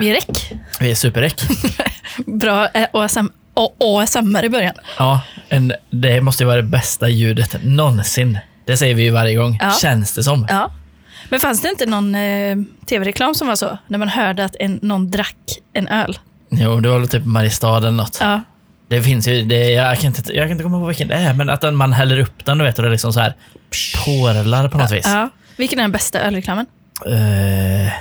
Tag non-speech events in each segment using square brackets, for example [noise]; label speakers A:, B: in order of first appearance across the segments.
A: Vi är räck.
B: Vi
A: [laughs]
B: är superräck.
A: Bra eh, ASM, A- ASMR i början.
B: Ja, en, det måste ju vara det bästa ljudet någonsin. Det säger vi ju varje gång,
A: Ja.
B: känns det som.
A: Ja. Men fanns det inte någon eh, tv-reklam som var så? När man hörde att en, någon drack en öl.
B: Jo, det var väl typ Mariestad eller något.
A: Ja.
B: Det finns ju, det, jag, kan inte, jag kan inte komma på vilken det är, men att den, man häller upp den du vet, och det är liksom så här porlar på något vis.
A: ja. Vilken är den bästa ölreklamen?
B: Eh,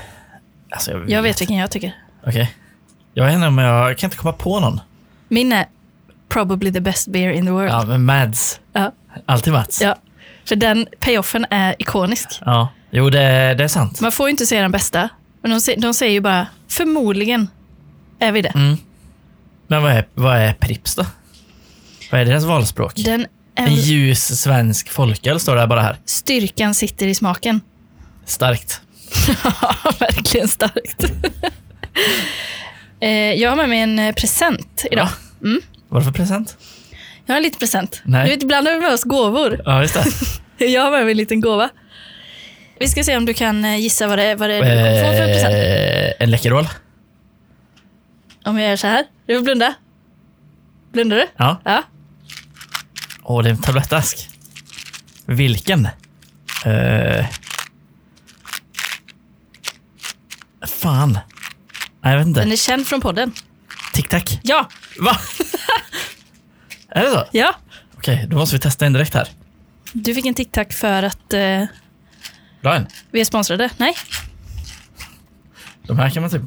B: alltså jag,
A: Jag vet vilken jag tycker.
B: Okej. Jag vet inte om jag, jag kan inte komma på någon.
A: Min är probably the best beer in the world.
B: Ja, men Mads.
A: Ja.
B: Alltid Mats.
A: Ja. För den payoffen är ikonisk.
B: Ja. Jo, det, det är sant.
A: Man får ju inte säga den bästa. Men de, se- de säger ju bara, förmodligen är vi det.
B: Mm. Men vad är, vad är Prips då? Vad är deras valspråk?
A: Den är
B: En ljus svensk folköl står det här bara här.
A: styrkan sitter i smaken.
B: Starkt.
A: Ja, [laughs] verkligen starkt. [laughs] Eh, jag har med mig en eh, present idag.
B: Va? Vad är det för present?
A: Jag har en liten present.
B: Nej.
A: Du vet, ibland har vi med oss gåvor.
B: Ja, just det.
A: Jag har med mig en liten gåva. Vi ska se om du kan eh, gissa vad det är, vad det är du kommer få för present.
B: [laughs] Eh, en Läkerol.
A: Om jag gör så här. Du får blunda. Blundar du?
B: Ja.
A: Ja.
B: Åh, det är en tablettask. Vilken? Eh. Fan. Nej, jag vet
A: Den
B: inte.
A: är känd från podden.
B: Tic Tac.
A: Ja.
B: Va? är det så?
A: Ja.
B: Okej, då måste vi testa en direkt här.
A: Du fick en tic-tac för att eh,
B: Bra en.
A: vi är sponsrade. Nej.
B: De här kan man typ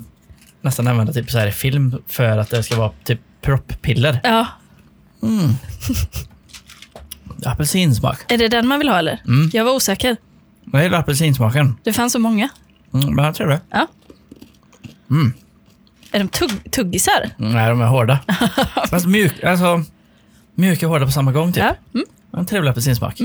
B: nästan använda typ så här i film för att det ska vara typ proppiller.
A: Ja.
B: Apelsinsmak.
A: Är det den man vill ha eller? Jag var osäker.
B: Jag gillar apelsinsmaken.
A: Det fanns så många.
B: Mm, men jag tror det.
A: Ja. Är de tugg- tuggisar?
B: Nej, de är hårda. Fast mjuk, alltså, mjuka och hårda på samma gång typ.
A: Ja. Mm.
B: En trevlig apelsinsmak.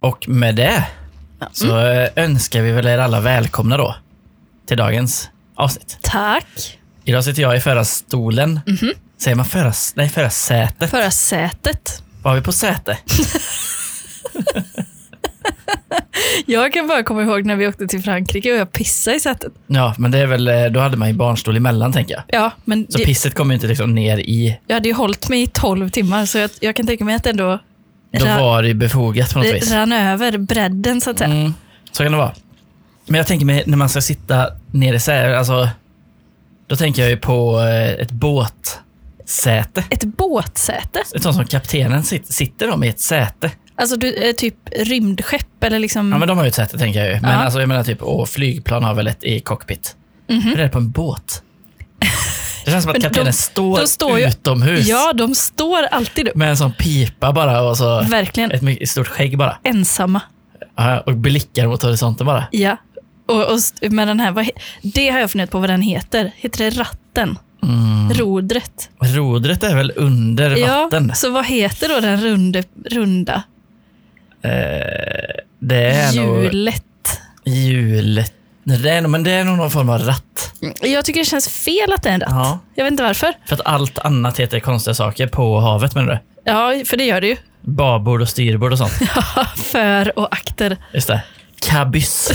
B: Och med det så eh, önskar vi väl er alla välkomna då till dagens avsnitt.
A: Tack.
B: Idag sitter jag i förarstolen.
A: Mhm.
B: Säger man föras, nej, förarsätet?
A: Förra sätet.
B: Var vi på säte?
A: Jag kan bara komma ihåg när vi åkte till Frankrike och jag pissade i sätet.
B: Ja, men det är väl, eh, då hade man ju barnstol emellan tänker jag.
A: Ja, men
B: Så
A: det,
B: pisset kommer ju inte liksom ner i.
A: jag hade ju hållit mig i 12 timmar så jag, jag kan tänka mig att det ändå
B: Då
A: ra-
B: var det ju befogat på något
A: det
B: vis.
A: rann över bredden så att säga.
B: Mm, så kan det vara. Men jag tänker mig när man ska sitta ner i säte, alltså. Då tänker jag ju på eh, ett båtsäte.
A: Ett båtsäte?
B: Ett sånt som kaptenen sit, sitter om i ett säte.
A: Alltså du, eh, typ rymdskepp eller liksom...
B: Ja, men de har ju ett säte tänker jag ju. Men
A: Ja.
B: alltså, jag menar typ, åh, flygplan har väl ett i cockpit. Hur är det på en båt? Det känns som att
A: Mhm. [laughs] Men de-
B: kaptenen står,
A: de står ju-
B: utomhus
A: ja, de står alltid upp.
B: med en sån pipa bara och så
A: Verkligen
B: ett mycket stort skägg bara.
A: ensamma.
B: Ja, Och blickar mot horisonten bara.
A: Ja. Och, och s- med den här, vad, he- det har jag funderat på vad den heter. Heter det ratten? Rodret?
B: Rodret Mm. är väl under vatten?
A: Ja, så vad heter då den runde, runda?
B: Eh, det är nog
A: Hjulet.
B: hjulet. Nej, Det är, nog- men det är nog någon form av ratt.
A: Jag tycker det känns fel att det är en ratt.
B: Ja.
A: Jag vet inte varför.
B: För att allt annat heter konstiga saker på havet menar du?
A: Ja, för det gör det ju. [laughs]
B: Babord och styrbord och sånt.
A: För och akter.
B: Just det.
A: [laughs]
B: Kabyss.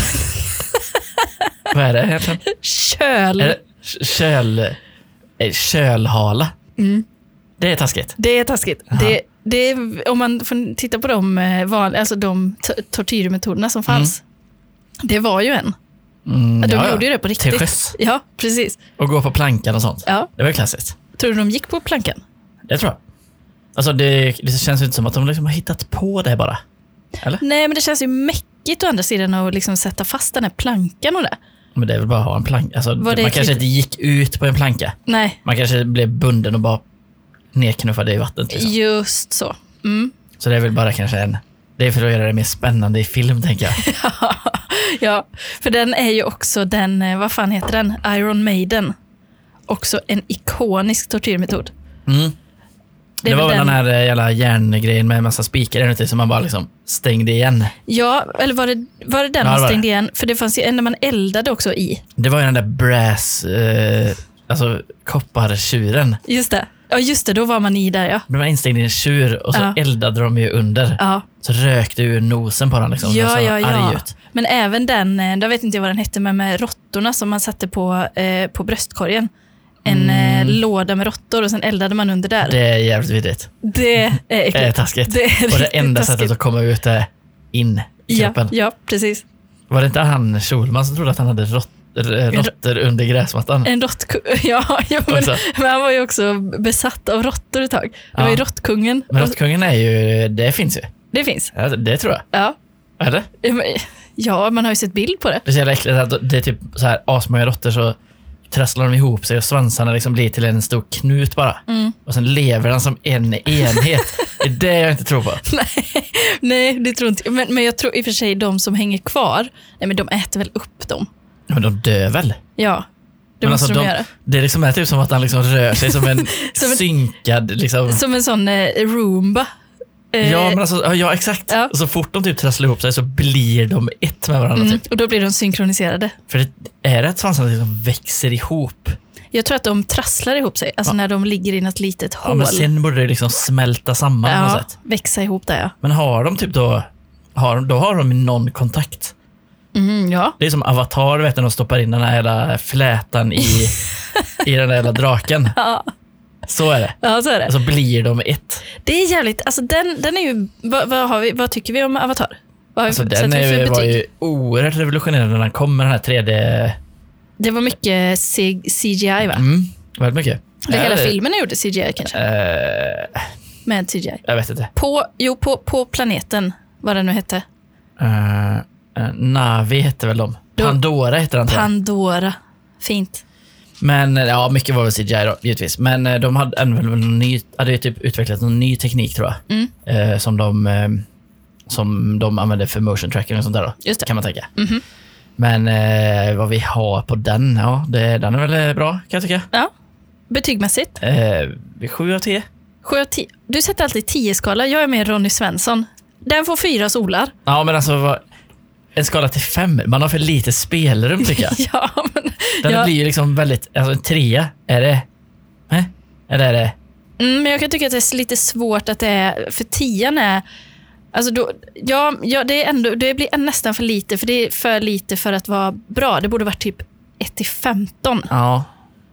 B: Vad är det egentligen?
A: Köl.
B: Är det k- köl... eh, Kölhala?
A: Mm.
B: Det är taskigt.
A: Det är taskigt. Det, det är, om man får titta på de, eh, van, alltså de t- tortyrmetoderna som fanns. Det var ju en.
B: Mm,
A: De gjorde ju det på riktigt.
B: Till sjöss.
A: Ja, precis.
B: Och gå på plankan och sånt.
A: Ja.
B: Det var ju klassiskt.
A: Tror du de gick på plankan?
B: Det tror jag. Alltså det, det känns ju inte som att de liksom har hittat på det bara.
A: Nej, men det känns ju mäckigt å andra sidan att liksom sätta fast den här plankan och det.
B: Men det är väl bara att ha en planka. Alltså,
A: Var
B: man
A: det
B: kanske
A: klipp-
B: inte gick ut på en planka.
A: Nej,
B: Man kanske blev bunden och bara nedknuffade i vattnet. Liksom.
A: just så. Mm.
B: Så det är väl bara kanske en... Det är för att göra det mer spännande i film, tänker
A: [laughs]
B: jag.
A: Ja, för den är ju också den, eh, vad fan heter den? Iron Maiden. Också en ikonisk tortyrmetod.
B: Mm.
A: Det
B: Det,
A: är
B: var
A: väl den.
B: väl den här eh, jävla järngrejen med en massa spikar inuti som man bara liksom stängde igen.
A: Ja, eller var det, var det den
B: Ja, det
A: man
B: var
A: stängde igen? För det fanns ju en där man eldade också i.
B: Det var ju den där brass, eh, alltså koppartjuren.
A: Just det. Ja, just det. Då var man i där, ja.
B: De var instängd i en tjur och så
A: Ja.
B: eldade de ju under.
A: Ja,
B: Så rökte ur nosen på den liksom. Den
A: ja,
B: såg
A: ja.
B: arg
A: ja.
B: ut.
A: Men även den, eh, jag vet inte vad den hette, men med råttorna som man satte på, eh, på bröstkorgen. En
B: Mm.
A: eh, låda med råttor och sen eldade man under där. Det,
B: Det är jävligt vidrigt.
A: är
B: Det är
A: äckligt. [laughs]
B: taskigt.
A: Det är
B: och det
A: riktigt
B: enda
A: taskigt.
B: sättet att komma ut är in i
A: ja,
B: kroppen.
A: ja, precis.
B: Var det inte han Schulman som trodde att han hade rått- r- råttor under gräsmattan?
A: En råttku- [laughs] ja, ja men,
B: Också.
A: men han var ju också besatt av råttor ett tag. Det var
B: Ja.
A: ju råttkungen.
B: Men
A: Och-
B: råttkungen är ju, det finns ju.
A: Det finns.
B: Ja, Det tror jag.
A: Ja.
B: Eller?
A: Ja, men- Ja, man har ju sett bild på det. [laughs]
B: Det är så jävla äckligt att det är typ så här asmånga råttor så trasslar de ihop sig och svansarna liksom blir till en stor knut bara.
A: Mm.
B: Och sen lever den som en enhet. det är det jag inte tror på.
A: Nej, det tror inte jag. Men, men jag tror i och för sig de som hänger kvar, nej, men de äter väl upp dem.
B: Men de dör väl?
A: Ja, det
B: Men
A: måste
B: alltså,
A: de,
B: de-
A: göra.
B: Det liksom är typ som att han liksom rör sig som en
A: [laughs] Som en-
B: synkad... Liksom.
A: Som en sån eh, Roomba. Eh,
B: Ja, men alltså, ja, ja, exakt.
A: Ja.
B: Så fort de typ trasslar ihop sig så blir de ett med varandra.
A: mm,
B: Typ.
A: och då blir de synkroniserade.
B: För det är det att svansarna liksom växer ihop,
A: Jag tror att de trasslar ihop sig, alltså när de ligger i något litet hål.
B: ja, men sen borde det liksom smälta samman på något
A: ja,
B: sätt.
A: växa ihop där ja.
B: Men har de typ då, har, de- då har de någon kontakt.
A: Mm, ja.
B: Det är som Avatar, vet du, när de stoppar in den här jävla flätan i, i den där jävla draken.
A: Ja,
B: Så är det.
A: ja, så är det.
B: Och så blir de ett.
A: Det är jävligt, alltså den, den är ju, vad, vad, har vi, vad tycker vi om Avatar? Vad har
B: Alltså,
A: vi,
B: den
A: sätter vi för
B: är, var
A: betyg?
B: ju oerhört revolutionerande när den kom med den här 3D.
A: Det var mycket C- CGI va?
B: Mm, väldigt mycket.
A: Det hela
B: Eller,
A: filmen är gjord i CGI kanske,
B: eh,
A: med CGI.
B: jag vet inte.
A: På, jo, på, på planeten, vad den nu hette.
B: Eh, eh, Navi hette väl de.
A: Då-
B: Pandora hette den. tror jag.
A: Pandora. Fint.
B: Men eh, ja, mycket var väl CGI då, givetvis. Men eh, de hade, använde väl någon ny, hade ju typ utvecklat någon ny teknik tror jag.
A: Mm.
B: Eh, som, de, eh, som de använde för motion tracking och sånt där då.
A: Just det. Mhm.
B: Kan man tänka. Men eh, vad vi har på den, ja, det, den är väl eh, bra kan jag tycka.
A: Ja. Betygmässigt?
B: Eh, 7 av 10.
A: 7 av 10. Du sätter alltid 10-skala. Jag är med Ronny Svensson. Den får fyra solar.
B: Ja, men alltså vad, en skala till 5. Man har för lite spelrum
A: [laughs]
B: tycker jag.
A: Ja, men,
B: Den
A: ja.
B: blir ju liksom väldigt, alltså en 3 är det, eh? eller är det,
A: Mm, men jag kan tycka att det är lite svårt att det är... För tian är... Alltså då, ja, ja, det, är ändå, det blir nästan för lite, för det är för lite för att vara bra. Det borde varit typ 1 till 15.
B: ja,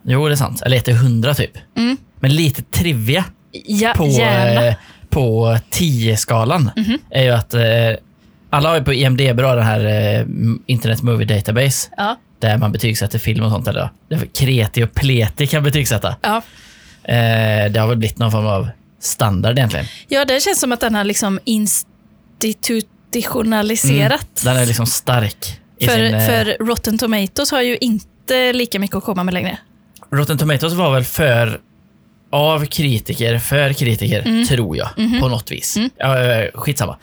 B: jo det är sant. Eller 1 till 100 typ.
A: Mm.
B: Men lite trivia
A: Ja,
B: på,
A: gärna.
B: eh, på 10-skalan
A: Mhm.
B: är ju att eh, alla har ju på IMDB då den här eh, m- Internet Movie Database
A: Ja,
B: där man betygsätter film och sånt. Där då. Det är Kreti och pleti kan betygsätta.
A: ja.
B: Eh, det har väl blivit någon form av standard egentligen.
A: ja, det känns som att den har liksom institutionaliserats.
B: Den är liksom stark. I
A: För,
B: sin, eh,
A: för Rotten Tomatoes har ju inte lika mycket att komma med längre.
B: Rotten Tomatoes var väl för av kritiker, för kritiker,
A: Mm.
B: tror jag.
A: Mm-hmm.
B: På något vis. Ja, eh, skitsamma.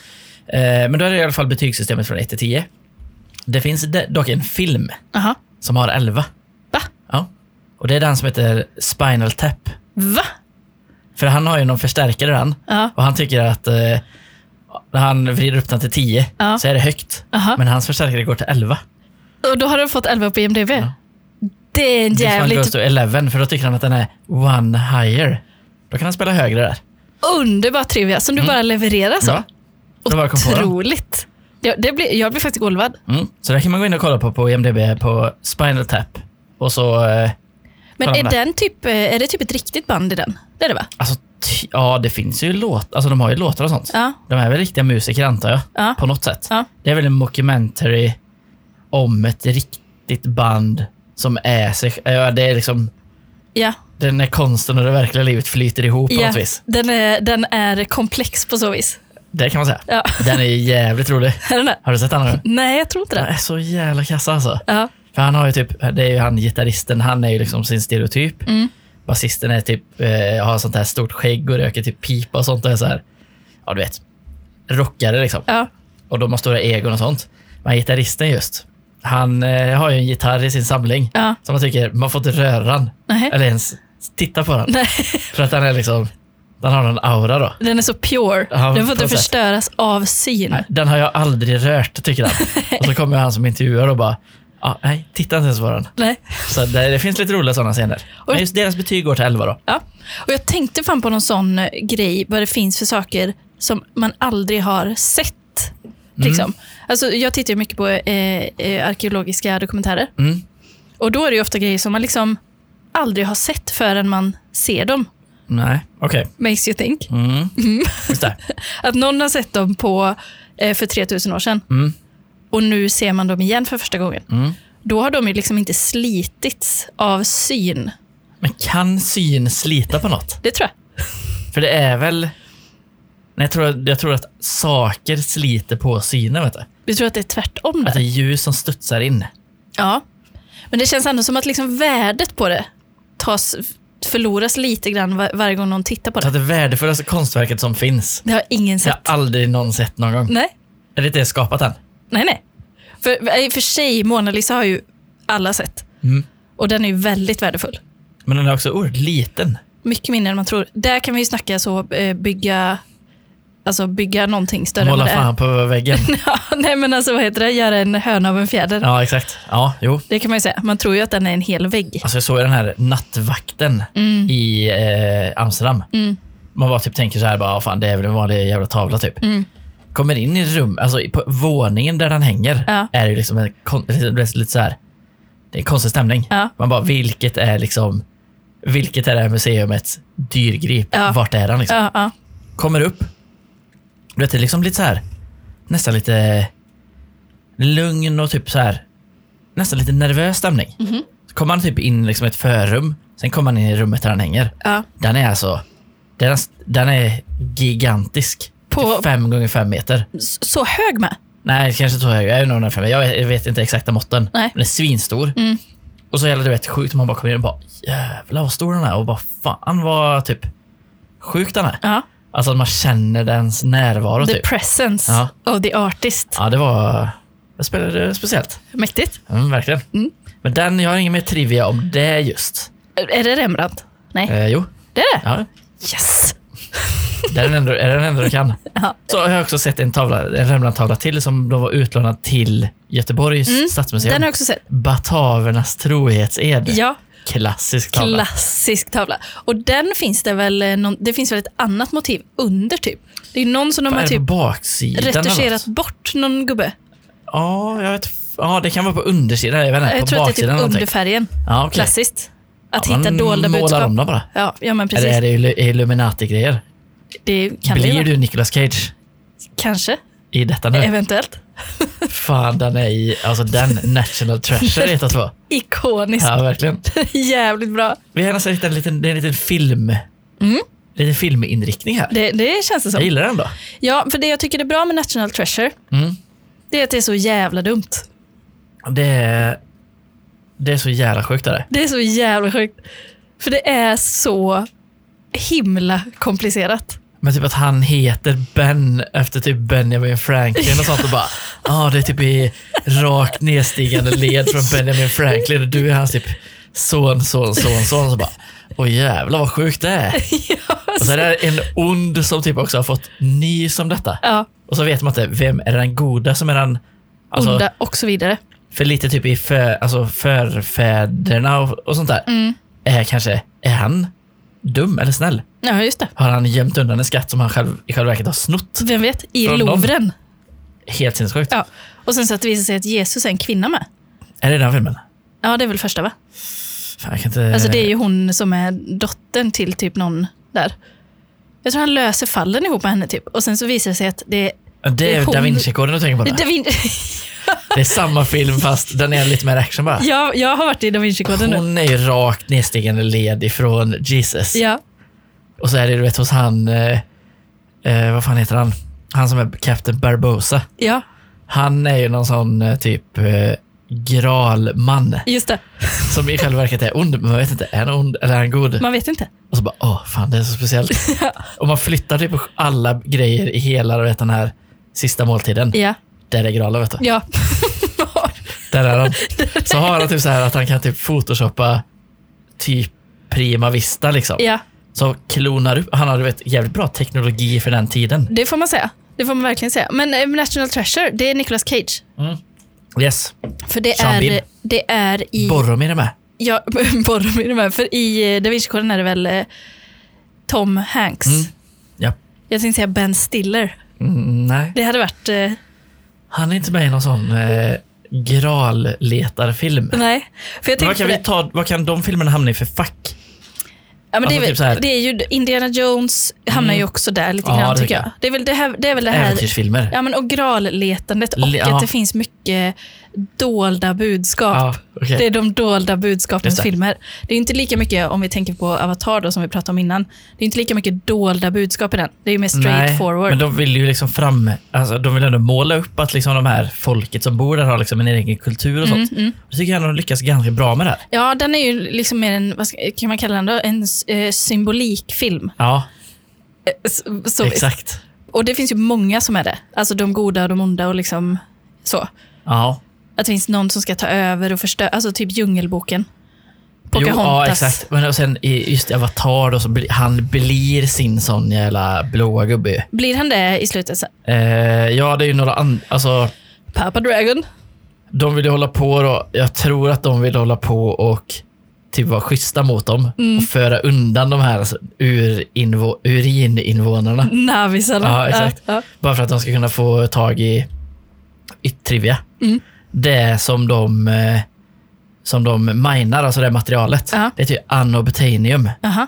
B: Eh, men då är det i alla fall betygssystemet från 1 till 10. Det finns de- dock en film
A: Aha.
B: som har 11.
A: Va?
B: Ja. Och det är den som heter Spinal Tap.
A: Va?
B: För han har ju någon förstärkare han.
A: Ja.
B: Och han tycker att eh, när han vrider upp den till 10
A: Ja.
B: så är det högt.
A: Aha.
B: Men hans förstärkare går till 11.
A: Och då har den fått 11 på IMDB. Det är en
B: Tills man går
A: jävligt
B: till 11 för då tycker han att den är one higher. Då kan han spela högre där.
A: underbar trivia som du bara levererar så.
B: Ja. Det Mm. var jag kom på då.
A: Otroligt. Det, det blir, jag blir faktiskt golvad.
B: Mm. Så det kan man gå in och kolla på på IMDB på Spinal Tap. Och så, eh,
A: Men
B: Kolla
A: är,
B: på det.
A: den typ, eh, är det typ ett riktigt band i den? Det är det va?
B: alltså, ty- ja det finns ju låt, alltså de har ju låtar och sånt.
A: Ja.
B: De är väl riktiga musiker antar jag,
A: Ja.
B: på något sätt.
A: Ja.
B: Det är väl en mockumentary om ett riktigt band som är sig, ja, det är liksom,
A: Ja.
B: det är när konsten och det verkliga livet flyter ihop på
A: ja.
B: något vis.
A: Den, är, den är komplex på så vis.
B: Det kan man säga.
A: Ja. [laughs]
B: Den är jävligt rolig.
A: Är den det?
B: Har du sett den? någon gång?
A: Nej, jag tror inte
B: Den
A: det.
B: är så jävla kass alltså.
A: Ja.
B: För han har ju typ, det är ju han gitarristen, han är ju liksom sin stereotyp.
A: Mm.
B: Basisten är typ, eh, har sånt här stort skägg och röker typ pipa och sånt och är så här, ja du vet, rockare liksom.
A: Ja.
B: Och de har stora egon och sånt. Men gitarristen just, han eh, har ju en gitarr i sin samling.
A: Ja.
B: Som man tycker, man får inte röra den.
A: Nej. [laughs]
B: Eller ens titta på den.
A: Nej.
B: För att han är liksom, Den har en aura då.
A: Den är så pure.
B: Ja,
A: den får inte
B: på sätt.
A: förstöras av syn.
B: Nej, Den har jag aldrig rört, tycker han.
A: [laughs]
B: Och så kommer han som intervjuar och bara, ja, nej, titta inte ens på den.
A: Nej.
B: Så det, det finns lite roliga sådana scener.
A: Och-
B: Men just deras betyg går till 11 då.
A: Ja. Och jag tänkte fan på någon sån eh, grej, vad det finns för saker som man aldrig har sett.
B: Mm.
A: Liksom. Alltså, jag tittar ju mycket på eh, eh, arkeologiska dokumentärer.
B: Mm.
A: Och då är det ju ofta grejer som man liksom aldrig har sett förrän man ser dem.
B: Nej, okej.
A: Makes you think.
B: Mm. Just det.
A: Att någon har sett dem på, eh, för 3000 år sedan.
B: Mm.
A: Och nu ser man dem igen för första gången.
B: Mm.
A: Då har de ju liksom inte slitits av syn.
B: Men kan syn slita på något?
A: Det tror jag.
B: För det är väl... Nej, jag, tror, jag tror att saker sliter på synen. Vet du?
A: Du tror att det är tvärtom
B: Att
A: där?
B: det är ljus som studsar in.
A: Ja. Men det känns ändå som att liksom värdet på det tas, förloras lite grann var, varje gång någon tittar på
B: Så
A: det.
B: att det värdefullaste konstverket som finns,
A: Det har ingen
B: det har
A: sett.
B: jag aldrig någon sett någon gång.
A: Nej,
B: Är det inte skapat än?
A: nej, nej. För, I och för sig, Mona Lisa har ju alla sett.
B: Mm.
A: Och den är ju väldigt värdefull.
B: Men den är också oerhört liten.
A: Mycket mindre än man tror. Där kan vi ju snacka så, eh, bygga, alltså bygga någonting större
B: Måla
A: än vad
B: fan på väggen.
A: det är. [laughs] Ja, nej men alltså vad heter det, göra en höna av en fjäder.
B: Ja, exakt. Ja, jo.
A: Det kan man ju säga. Man tror ju att den är en hel vägg.
B: Alltså jag såg ju den här nattvakten
A: Mm.
B: i eh, Amsterdam. Man bara typ tänker så här, bara, "Ah, fan, det är väl en vanlig jävla tavla typ.
A: Mm.
B: Kommer in i rum, alltså på våningen där den hänger,
A: Ja.
B: är det ju liksom en, kon- lite, lite, lite så här, det är en konstig stämning.
A: Ja.
B: Man bara, vilket är liksom, vilket är det här museumets dyrgrip?
A: Ja.
B: Vart är den liksom?
A: Ja, ja.
B: Kommer upp, du vet det är liksom lite så här, nästan lite lugn och typ så här, nästan lite nervös stämning.
A: Mhm.
B: Så kommer han typ in i liksom ett förrum, sen kommer han in i rummet där han hänger.
A: ja.
B: Den är alltså, den är, den är gigantisk.
A: På-
B: Typ Fem gånger fem meter.
A: S- Så hög med.
B: Nej, kanske tror jag. Jag är nog den fem. Jag vet- jag vet inte exakta måtten.
A: Nej.
B: Men den är svinstor.
A: Mm.
B: Och så jävla du vet sjukt. Man bara kommer in och bara jävlar vad stor den är. Och bara fan vad typ sjuk den är.
A: Ja.
B: Alltså att man känner dens närvaro
A: The
B: typ.
A: presence
B: Ja.
A: of the artist.
B: Ja, det var det spelade speciellt.
A: Mäktigt.
B: Mm, verkligen.
A: Mm.
B: Men den, jag har ingen mer trivia om det just.
A: Är det Rembrandt? Nej,
B: Eh, jo,
A: det är det.
B: ja.
A: Yes!
B: Det är den enda, är den enda du kan.
A: Ja.
B: Så har jag också sett en tavla, en Rembrandt-tavla till som då var utlånad till Göteborgs stadsmuseum.
A: Mm, Den har jag också sett.
B: Batavernas trohetsed.
A: Ja,
B: Klassisk Eh, tavla.
A: klassisk tavla. Och den finns det väl, eh, någon, det finns väl ett annat motiv under typ. Det är någon som de
B: Vad
A: har
B: är det
A: typ
B: på baksidan? eller
A: retuscherat
B: något?
A: bort någon gubbe.
B: Ja, jag vet. f- Ja, det kan vara på undersidan. Jag vet inte.
A: jag
B: på
A: tror att det
B: baksidan
A: är typ
B: någonting.
A: underfärgen.
B: Ja, okej.
A: Klassiskt. Att
B: Man
A: hitta dolda
B: målar
A: budskap.
B: om dem bara.
A: Ja, ja, men precis.
B: Eller är det Ill- Illuminati-grejer?
A: Det kan det
B: Blir
A: ju vara. Eh,
B: du Nicolas Cage
A: Kanske.
B: i detta nu?
A: Eventuellt.
B: Fan, den är i...
A: [laughs]
B: Alltså den, National Treasure heter två.
A: Ikoniskt.
B: Ja, verkligen.
A: [laughs] Jävligt bra.
B: Vi har nästan hittat en liten, det är en liten film...
A: Mm.
B: Liten filminriktning här.
A: Det, det känns det som.
B: Jag gillar den då.
A: Ja, för det jag tycker är bra med National Treasure,
B: Mm.
A: det är att det är så jävla dumt.
B: Det är, det är så jävla sjukt det där.
A: Det är så jävla sjukt. För det är så himla komplicerat. [laughs]
B: Men typ att han heter Ben efter typ Benjamin Franklin och sånt och bara [laughs] Ja, det är typ i rakt nedstigande led från Benjamin Franklin och du är hans typ son, son, son, son. Så bara Åh jävlar vad sjukt det är.
A: ja,
B: Och så är det en ond som typ också har fått nys om detta.
A: ja,
B: Och så vet man inte, vem är den goda som är den... Alltså,
A: onda och så vidare.
B: För lite typ i för, alltså förfäderna och, och sånt där.
A: Mm.
B: Är kanske, är han dum eller snäll?
A: Ja, just det.
B: Har han gömt undan en skatt som han själv, i själva verket har snott?
A: Vem vet, i
B: Från dem.
A: Louvren.
B: Helt sinnessjukt.
A: Ja. Och sen så att det visar sig att Jesus är en kvinna med.
B: Är det den filmen?
A: Ja, det är väl första va?
B: Fan, jag kan inte...
A: Alltså det är ju hon som är dottern till typ någon där. Jag tror han löser fallen ihop med henne typ. Och sen så visar det sig att det är...
B: Ja, det
A: det
B: är
A: är hon-
B: Da Vinci-koden
A: [laughs]
B: du tänker på.
A: Det,
B: Det,
A: Da Vin-
B: det är samma film fast den är lite mer action bara.
A: jag, jag har varit i Da Vinci-koden nu.
B: Hon är ju rakt nedstigande led ifrån Jesus.
A: Ja,
B: Och så är det du vet hos han, eh, eh, vad fan heter han? Han som är Captain Barbosa.
A: ja,
B: Han är ju någon sån eh, typ eh,
A: [laughs]
B: gralman
A: just det.
B: som i själva verket är ond, men man vet inte, är han ond eller är han god?
A: Man vet inte.
B: Och så bara, åh fan det är så
A: [laughs]
B: speciellt. Och man flyttar typ alla grejer i hela du vet, den här sista måltiden.
A: Ja,
B: Där är gralen vet du.
A: ja.
B: Där är
A: [laughs]
B: han. Så har han typ så här att han kan typ photoshoppa typ Prima Vista liksom.
A: ja.
B: som klonar upp. Han hade vet, jävligt bra teknologi för den tiden.
A: Det får man säga. Det får man verkligen säga. Men eh, National Treasure, det är Nicolas Cage.
B: Yes.
A: För det
B: Sean Bean.
A: är, det är i...
B: Boromir är med.
A: Ja, [laughs] Boromir är med. För i eh, Da Vinci-koden är det väl eh, Tom Hanks.
B: Mm. Ja.
A: Jag tänkte säga Ben Stiller.
B: Mm, nej,
A: Det hade varit... Eh,
B: han är inte med i någon sån eh, graalletarfilm.
A: nej. För jag
B: Men
A: tänkte
B: Vad kan,
A: på
B: vi
A: det.
B: ta, vad kan de filmerna hamna i för fack?
A: Ja, men det, är
B: alltså
A: väl,
B: typ så här. Mm.
A: det är ju Indiana Jones hamnar ju också där lite
B: Ja,
A: grann
B: det
A: tycker
B: tycker
A: jag. Det är väl det här, det är väl det här
B: Äventyrsfilmer.
A: ja, men, och graalletandet och
B: Le-
A: att
B: ja.
A: det finns mycket dolda budskap.
B: Ja, okej.
A: Det är de dolda budskapens
B: Just det.
A: filmer. Det är inte lika mycket, om vi tänker på Avatar då, som vi pratade om innan, det är inte lika mycket dolda budskap i den. Det är ju mer straight
B: Nej,
A: forward.
B: Men de vill ju liksom fram, alltså, de vill ändå måla upp att liksom de här folket som bor där har liksom en egen kultur och
A: Mm,
B: sånt. Jag tycker jag ändå de lyckas ganska bra med det. här.
A: Ja, den är ju liksom mer en, vad ska, kan man kalla den då, en eh, symbolikfilm.
B: Ja,
A: Eh, s- Så,
B: exakt.
A: och det finns ju många som är det. Alltså de goda och de onda och liksom så.
B: Ja.
A: Att det finns någon som ska ta över och förstöra, alltså typ Djungelboken.
B: Jo,
A: Pocahontas.
B: ja, exakt. Men och sen i just Avatar då, så blir, han blir sin sån jävla blåa gubbe ju.
A: Blir han det i slutet sen?
B: eh, Ja, det är ju några andra, alltså
A: Papa Dragon?
B: de vill ju hålla på då, jag tror att de vill hålla på och typ vara schyssta mot dem
A: Mm.
B: och föra undan de här alltså, urinvå- urininvånarna.
A: Mm. Navisarna?
B: Ja, exakt.
A: Ja,
B: Bara för att de ska kunna få tag i yttrivia.
A: Mm.
B: Det som de eh, som de minar, alltså det materialet.
A: Ja.
B: Det heter ju anobtainium.
A: ja. Aha.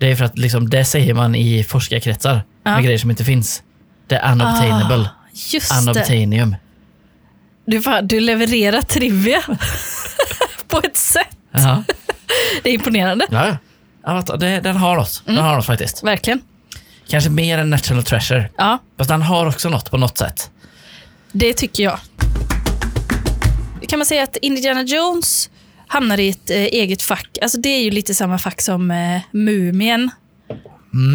B: Det är för att liksom, det säger man i forskarkretsar
A: Ja.
B: med grejer som inte finns. Det är unobtainable.
A: Ah, just det.
B: Unobtainium.
A: Du, fan, du levererar trivia på ett sätt.
B: Ja.
A: Det är imponerande.
B: Ja, ja. Ja, vad- det, den har något.
A: Mm.
B: Den har något faktiskt.
A: Verkligen.
B: Kanske mer än National Treasure.
A: Ja,
B: Fast den har också något på något sätt.
A: det tycker jag. Kan man säga att Indiana Jones hamnar i ett eh, eget fack? Alltså det är ju lite samma fack som eh, Mumien.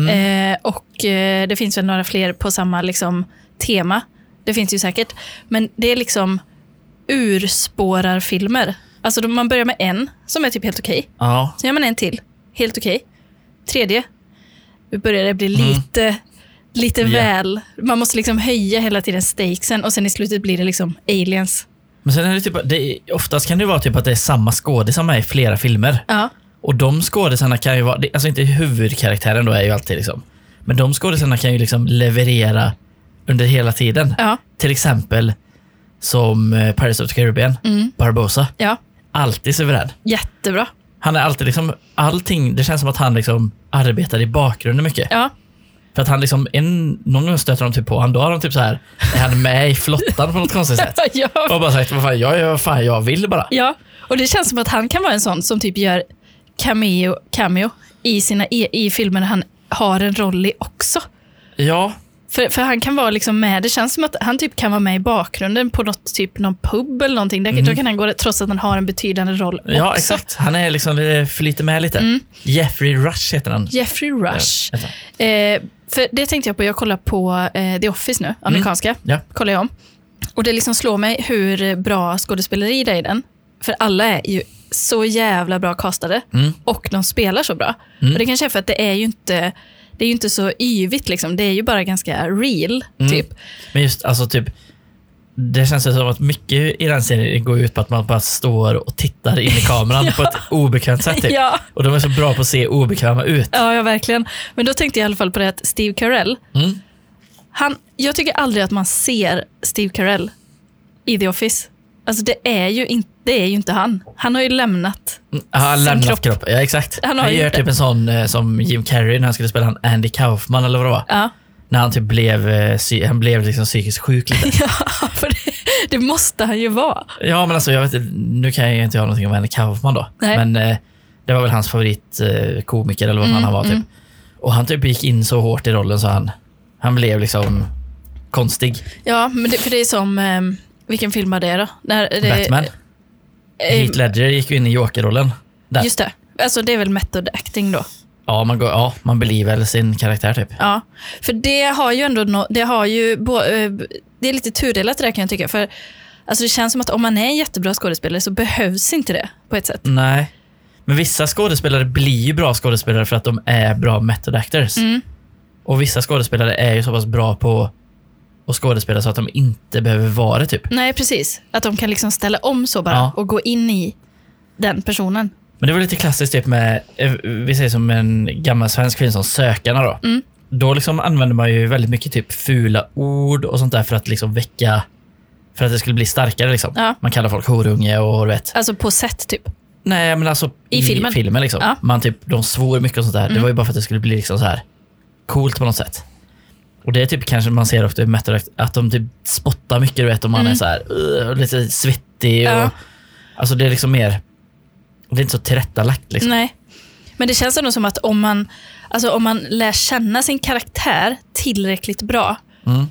A: Eh, och eh, det finns väl några fler på samma liksom, tema. Det finns ju säkert. Men det är liksom urspårarfilmer. Alltså då- man börjar med en som är typ helt okej.
B: Ja.
A: Sen gör man en till. Helt okej. Tredje. Nu börjar det bli lite, lite
B: Mm. Ja.
A: väl. Man måste liksom höja hela tiden stakesen och sen i slutet blir det liksom aliens.
B: Men sen är det typ, det är, oftast kan det ju vara typ att det är samma skådisar med i flera filmer.
A: Ja.
B: Och de skådisarna kan ju vara, det- alltså inte huvudkaraktären då är ju alltid liksom. Men de skådisarna kan ju liksom leverera under hela tiden.
A: Ja.
B: Till exempel som eh, Pirates of the Caribbean, Barbosa.
A: Ja.
B: Alltid suverän.
A: Jättebra.
B: Han är alltid liksom, allting, det känns som att han liksom arbetar i bakgrunden mycket.
A: Ja.
B: För att han liksom, en, någon gång stöter de typ på honom, då har de typ så här, är han med i flottan på något konstigt sätt?
A: [laughs] ja.
B: Och bara sagt, vad fan, jag gör vad fan jag vill bara.
A: ja. Och det känns som att han kan vara en sån som typ gör cameo, cameo i, sina, i, i filmer han har en roll i också.
B: Ja,
A: För, för han kan vara liksom med, det känns som att han typ kan vara med i bakgrunden på något, typ någon pub eller någonting. Där, Då kan han gå det, trots att han har en betydande roll
B: Mhm. Ja,
A: också. Mm.
B: exakt. Han är liksom, eh, flyter med lite. Jeffrey Rush heter han.
A: Jeffrey Rush.
B: Ja, vänta.
A: Eh, för det tänkte jag på, jag kollar på eh, The Office nu, amerikanska.
B: Ja.
A: Kollar jag om. Och det liksom slår mig hur bra skådespeleri det är i den. För alla är ju så jävla bra castade och de spelar så bra. Och det kanske är för att det är ju inte, det är ju inte så yvigt, liksom. det är ju bara ganska real. Typ.
B: Men just alltså typ, det känns ju som att mycket i den serien går ut på att man bara står och tittar in i
A: [laughs]
B: kameran på ett obekvämt sätt. Typ.
A: Ja.
B: Och de är så bra på att se obekväma ut.
A: Ja, ja, verkligen. Men då tänkte jag i alla fall på det att Steve Carell,
B: Mm.
A: han, jag tycker aldrig att man ser Steve Carell i The Office. Alltså det är ju, in, det är ju inte han. Han har ju lämnat.
B: Mm, Han har
A: Sin
B: lämnat
A: kropp.
B: kropp. Ja, exakt.
A: Han
B: Han,
A: har ju
B: gör
A: inte-
B: typ en sån eh, som Jim Carrey när han skulle spela han Andy Kaufman eller vad det var.
A: Ja, [laughs]
B: När han typ blev, eh, psy- han blev liksom psykiskt sjuk lite.
A: [laughs] ja för det, det måste han ju vara.
B: Ja, men alltså, jag vet, inte- nu kan jag ju inte göra någonting om Andy Kaufman då.
A: Nej.
B: Men eh, det var väl hans favoritkomiker eh, komiker eller vad
A: Mm,
B: fan han var. Typ. Och han typ gick in så hårt i rollen så han, han blev liksom konstig.
A: Ja, men det, för det är som, ehm, vilken film var det då? När, det,
B: Batman.
A: eh,
B: Heath Ledger gick ju in i Joker-rollen. Där.
A: just det. Alltså det är väl method acting då.
B: Ja, man, går, ja, man believer sin karaktär typ.
A: Ja, för det har ju ändå nå- det har ju bo, eh, det är lite tudelat det där kan jag tycka. För alltså det känns som att om man är en jättebra skådespelare så behövs inte det på ett sätt.
B: Nej. Men vissa skådespelare blir ju bra skådespelare för att de är bra method actors.
A: Mm.
B: Och vissa skådespelare är ju så pass bra på att skådespela så att de inte behöver vara det, typ.
A: Nej, precis. Att de kan liksom ställa om så bara
B: Ja.
A: och gå in i den personen.
B: Men det var lite klassiskt typ med, eh, vi säger som en gammal svensk film som Sökarna då.
A: Mm.
B: Då liksom använder man ju väldigt mycket typ fula ord och sånt där för att liksom väcka, för att det skulle bli starkare liksom.
A: Ja.
B: Man kallar folk horunge och du vet.
A: Alltså på sätt typ.
B: Nej men alltså
A: I filmen.
B: liksom.
A: Ja. Mm.
B: Man typ, de svor mycket och sånt där. Det var ju bara för att det skulle bli liksom så här coolt på något sätt. Och det är typ kanske man ser ofta i Metal Act, att de typ spottar mycket du vet om man
A: Mm.
B: är så här "Ugh", lite svettig och
A: Ja.
B: alltså det är liksom mer, det är inte så tillrättalagt liksom.
A: Nej. Men det känns ändå som att om man, alltså om man lär känna sin karaktär tillräckligt bra,
B: Mm.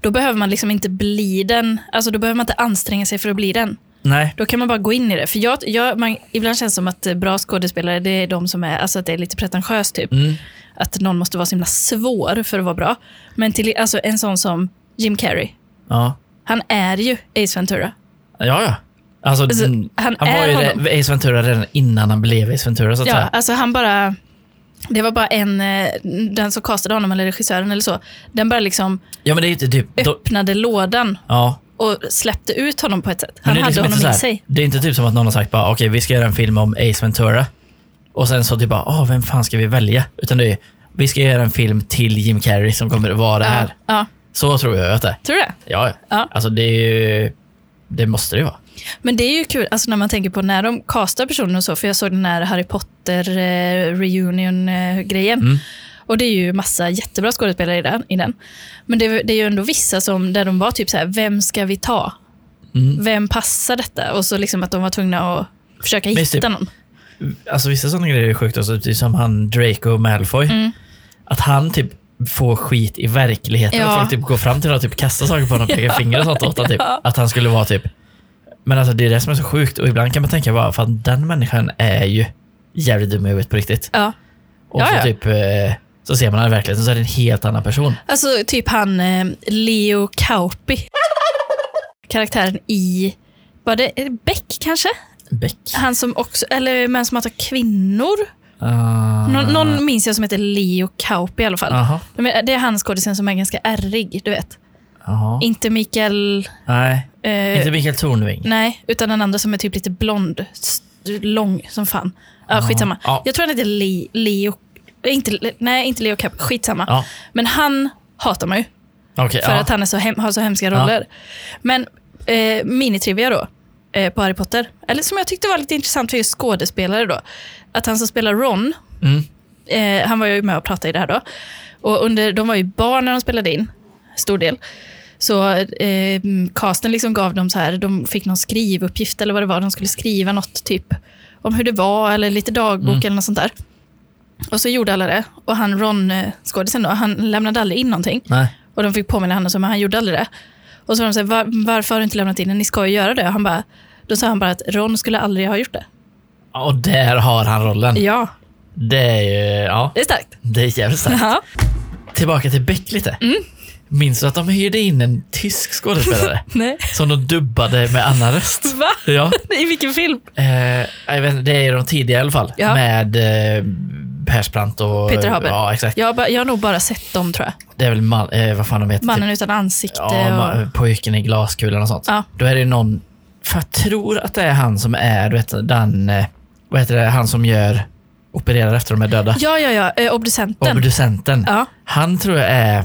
A: då behöver man liksom inte bli den. Alltså då behöver man inte anstränga sig för att bli den.
B: Nej.
A: Då kan man bara gå in i det. För jag, jag, man, ibland känns det som att eh, bra skådespelare, det är de som är, alltså att det är lite pretentiöst typ.
B: Mm.
A: Att någon måste vara så himla svår för att vara bra. Men till, alltså en sån som Jim Carrey,
B: Ja.
A: han är ju Ace Ventura.
B: ja, ja. Alltså,
A: Alltså,
B: mm,
A: han
B: han, var
A: är
B: ju
A: honom.
B: re- Ace Ventura redan innan han blev Ace Ventura. Så att
A: Ja,
B: säga.
A: alltså han bara... Det var bara en, eh, den som castade honom, eller regissören eller så, den bara liksom
B: ja, men det är ju inte typ... De,
A: öppnade lådan
B: ja.
A: och släppte ut honom på ett sätt.
B: Men
A: Han
B: det är
A: hade
B: liksom inte
A: honom i
B: så här-
A: sig.
B: Det är inte typ som att någon har sagt bara okej, vi ska göra en film om Ace Ventura. Och sen så typ bara, ah vem fan ska vi välja? Utan det är vi ska göra en film till Jim Carrey som kommer att vara det
A: Ja,
B: här.
A: ja,
B: Så tror jag att det är.
A: tror du det?
B: Ja,
A: Ja.
B: Alltså det är ju... Det måste det ju vara.
A: Men det är ju kul alltså när man tänker på när de castar personer och så, för jag såg den här Harry Potter eh, reunion-grejen.
B: Mm.
A: Och det är ju massa jättebra skådespelare i den. I den. Men det, det är ju ändå vissa som, där de var typ så här, vem ska vi ta?
B: Mm.
A: Vem passar detta? Och så liksom att de var tvungna att försöka
B: Visst,
A: hitta
B: typ.
A: någon.
B: Alltså vissa sådana grejer är sjukt. Alltså, typ som han Draco Malfoy.
A: Mm.
B: Att han typ får skit i verkligheten.
A: Ja.
B: Att folk typ går fram till honom och typ kastar saker på honom, pekar fingrar och sånt åt honom, typ.
A: Ja.
B: Att han skulle vara typ... Men alltså det är det som är så sjukt. Och ibland kan man tänka bara, fan den människan är ju jävligt dum i huvudet på riktigt.
A: Ja.
B: Och
A: Ja,
B: så
A: ja.
B: typ... eh, Så ser man han i verkligheten så är det en helt annan person.
A: Alltså typ han eh, Leo Kauppi. Karaktären i, var det Beck kanske?
B: Beck.
A: Han som också, eller män som hatar kvinnor.
B: Ah.
A: Nå- någon minns jag som heter Leo Kauppi i alla fall.
B: Jaha.
A: Men Det är han skådisen som är ganska ärrig, du vet.
B: Jaha.
A: Inte Mikael...
B: Nej,
A: eh,
B: inte Mikael Tornving.
A: Nej, utan den andra som är typ lite blond. s- Lång som fan. Ja,
B: Ah.
A: skitsamma.
B: Ja.
A: Jag tror han heter Le- Leo... Inte, nej, inte Leo Kauppi. Skitsamma.
B: Ja,
A: Men han hatar man ju.
B: okej.
A: För
B: ja.
A: att han är så hem, har så hemska
B: Ja.
A: roller. Men eh, minitrivia då, eh, på Harry Potter. Eller som jag tyckte var lite intressant för just skådespelare då. Att han som spelar Ron,
B: Mm.
A: eh, han var ju med och pratade i det här då. Och under, de var ju barn när de spelade in, stor del. Så eh, casten liksom gav dem så här, de fick någon skrivuppgift eller vad det var, de skulle skriva något typ om hur det var eller lite dagbok
B: Mm.
A: eller något sånt där. Och så gjorde alla det. Och han Ron, eh, skådisen då, han lämnade aldrig in någonting.
B: Nej.
A: Och de fick påminna honom, så, men han gjorde aldrig det. Och så var de så här, Var, varför har du inte lämnat in den? Ni ska ju göra det. Och Han bara, då sa han bara att Ron skulle aldrig ha gjort det.
B: Och där har han rollen.
A: Ja,
B: Det är ju... Ja,
A: det är starkt.
B: det är
A: [laughs]
B: jävligt starkt.
A: Ja.
B: Tillbaka till Beck lite.
A: Mm.
B: Minns du att de hyrde in en tysk skådespelare
A: [laughs] Nej.
B: som de dubbade med annan röst?
A: Va?
B: Ja.
A: I vilken film?
B: Eh, jag vet, inte, det är de tidiga i alla fall.
A: Ja.
B: Med eh, Persbrandt och...
A: Peter Haber.
B: Ja, exakt.
A: Jag, har bara- jag har nog bara sett dem tror jag.
B: Det är väl man, eh, vad fan de heter.
A: Mannen utan ansikte
B: ja, ma-
A: och...
B: Pojken i glaskulan och sånt.
A: Ja.
B: Då är det någon... För jag tror att det är han som är, du vet, den... eh, Vad heter det? Han som gör... Opererar efter de är döda.
A: Ja, ja, ja. eh, Obducenten.
B: Obducenten.
A: ja.
B: Han tror jag är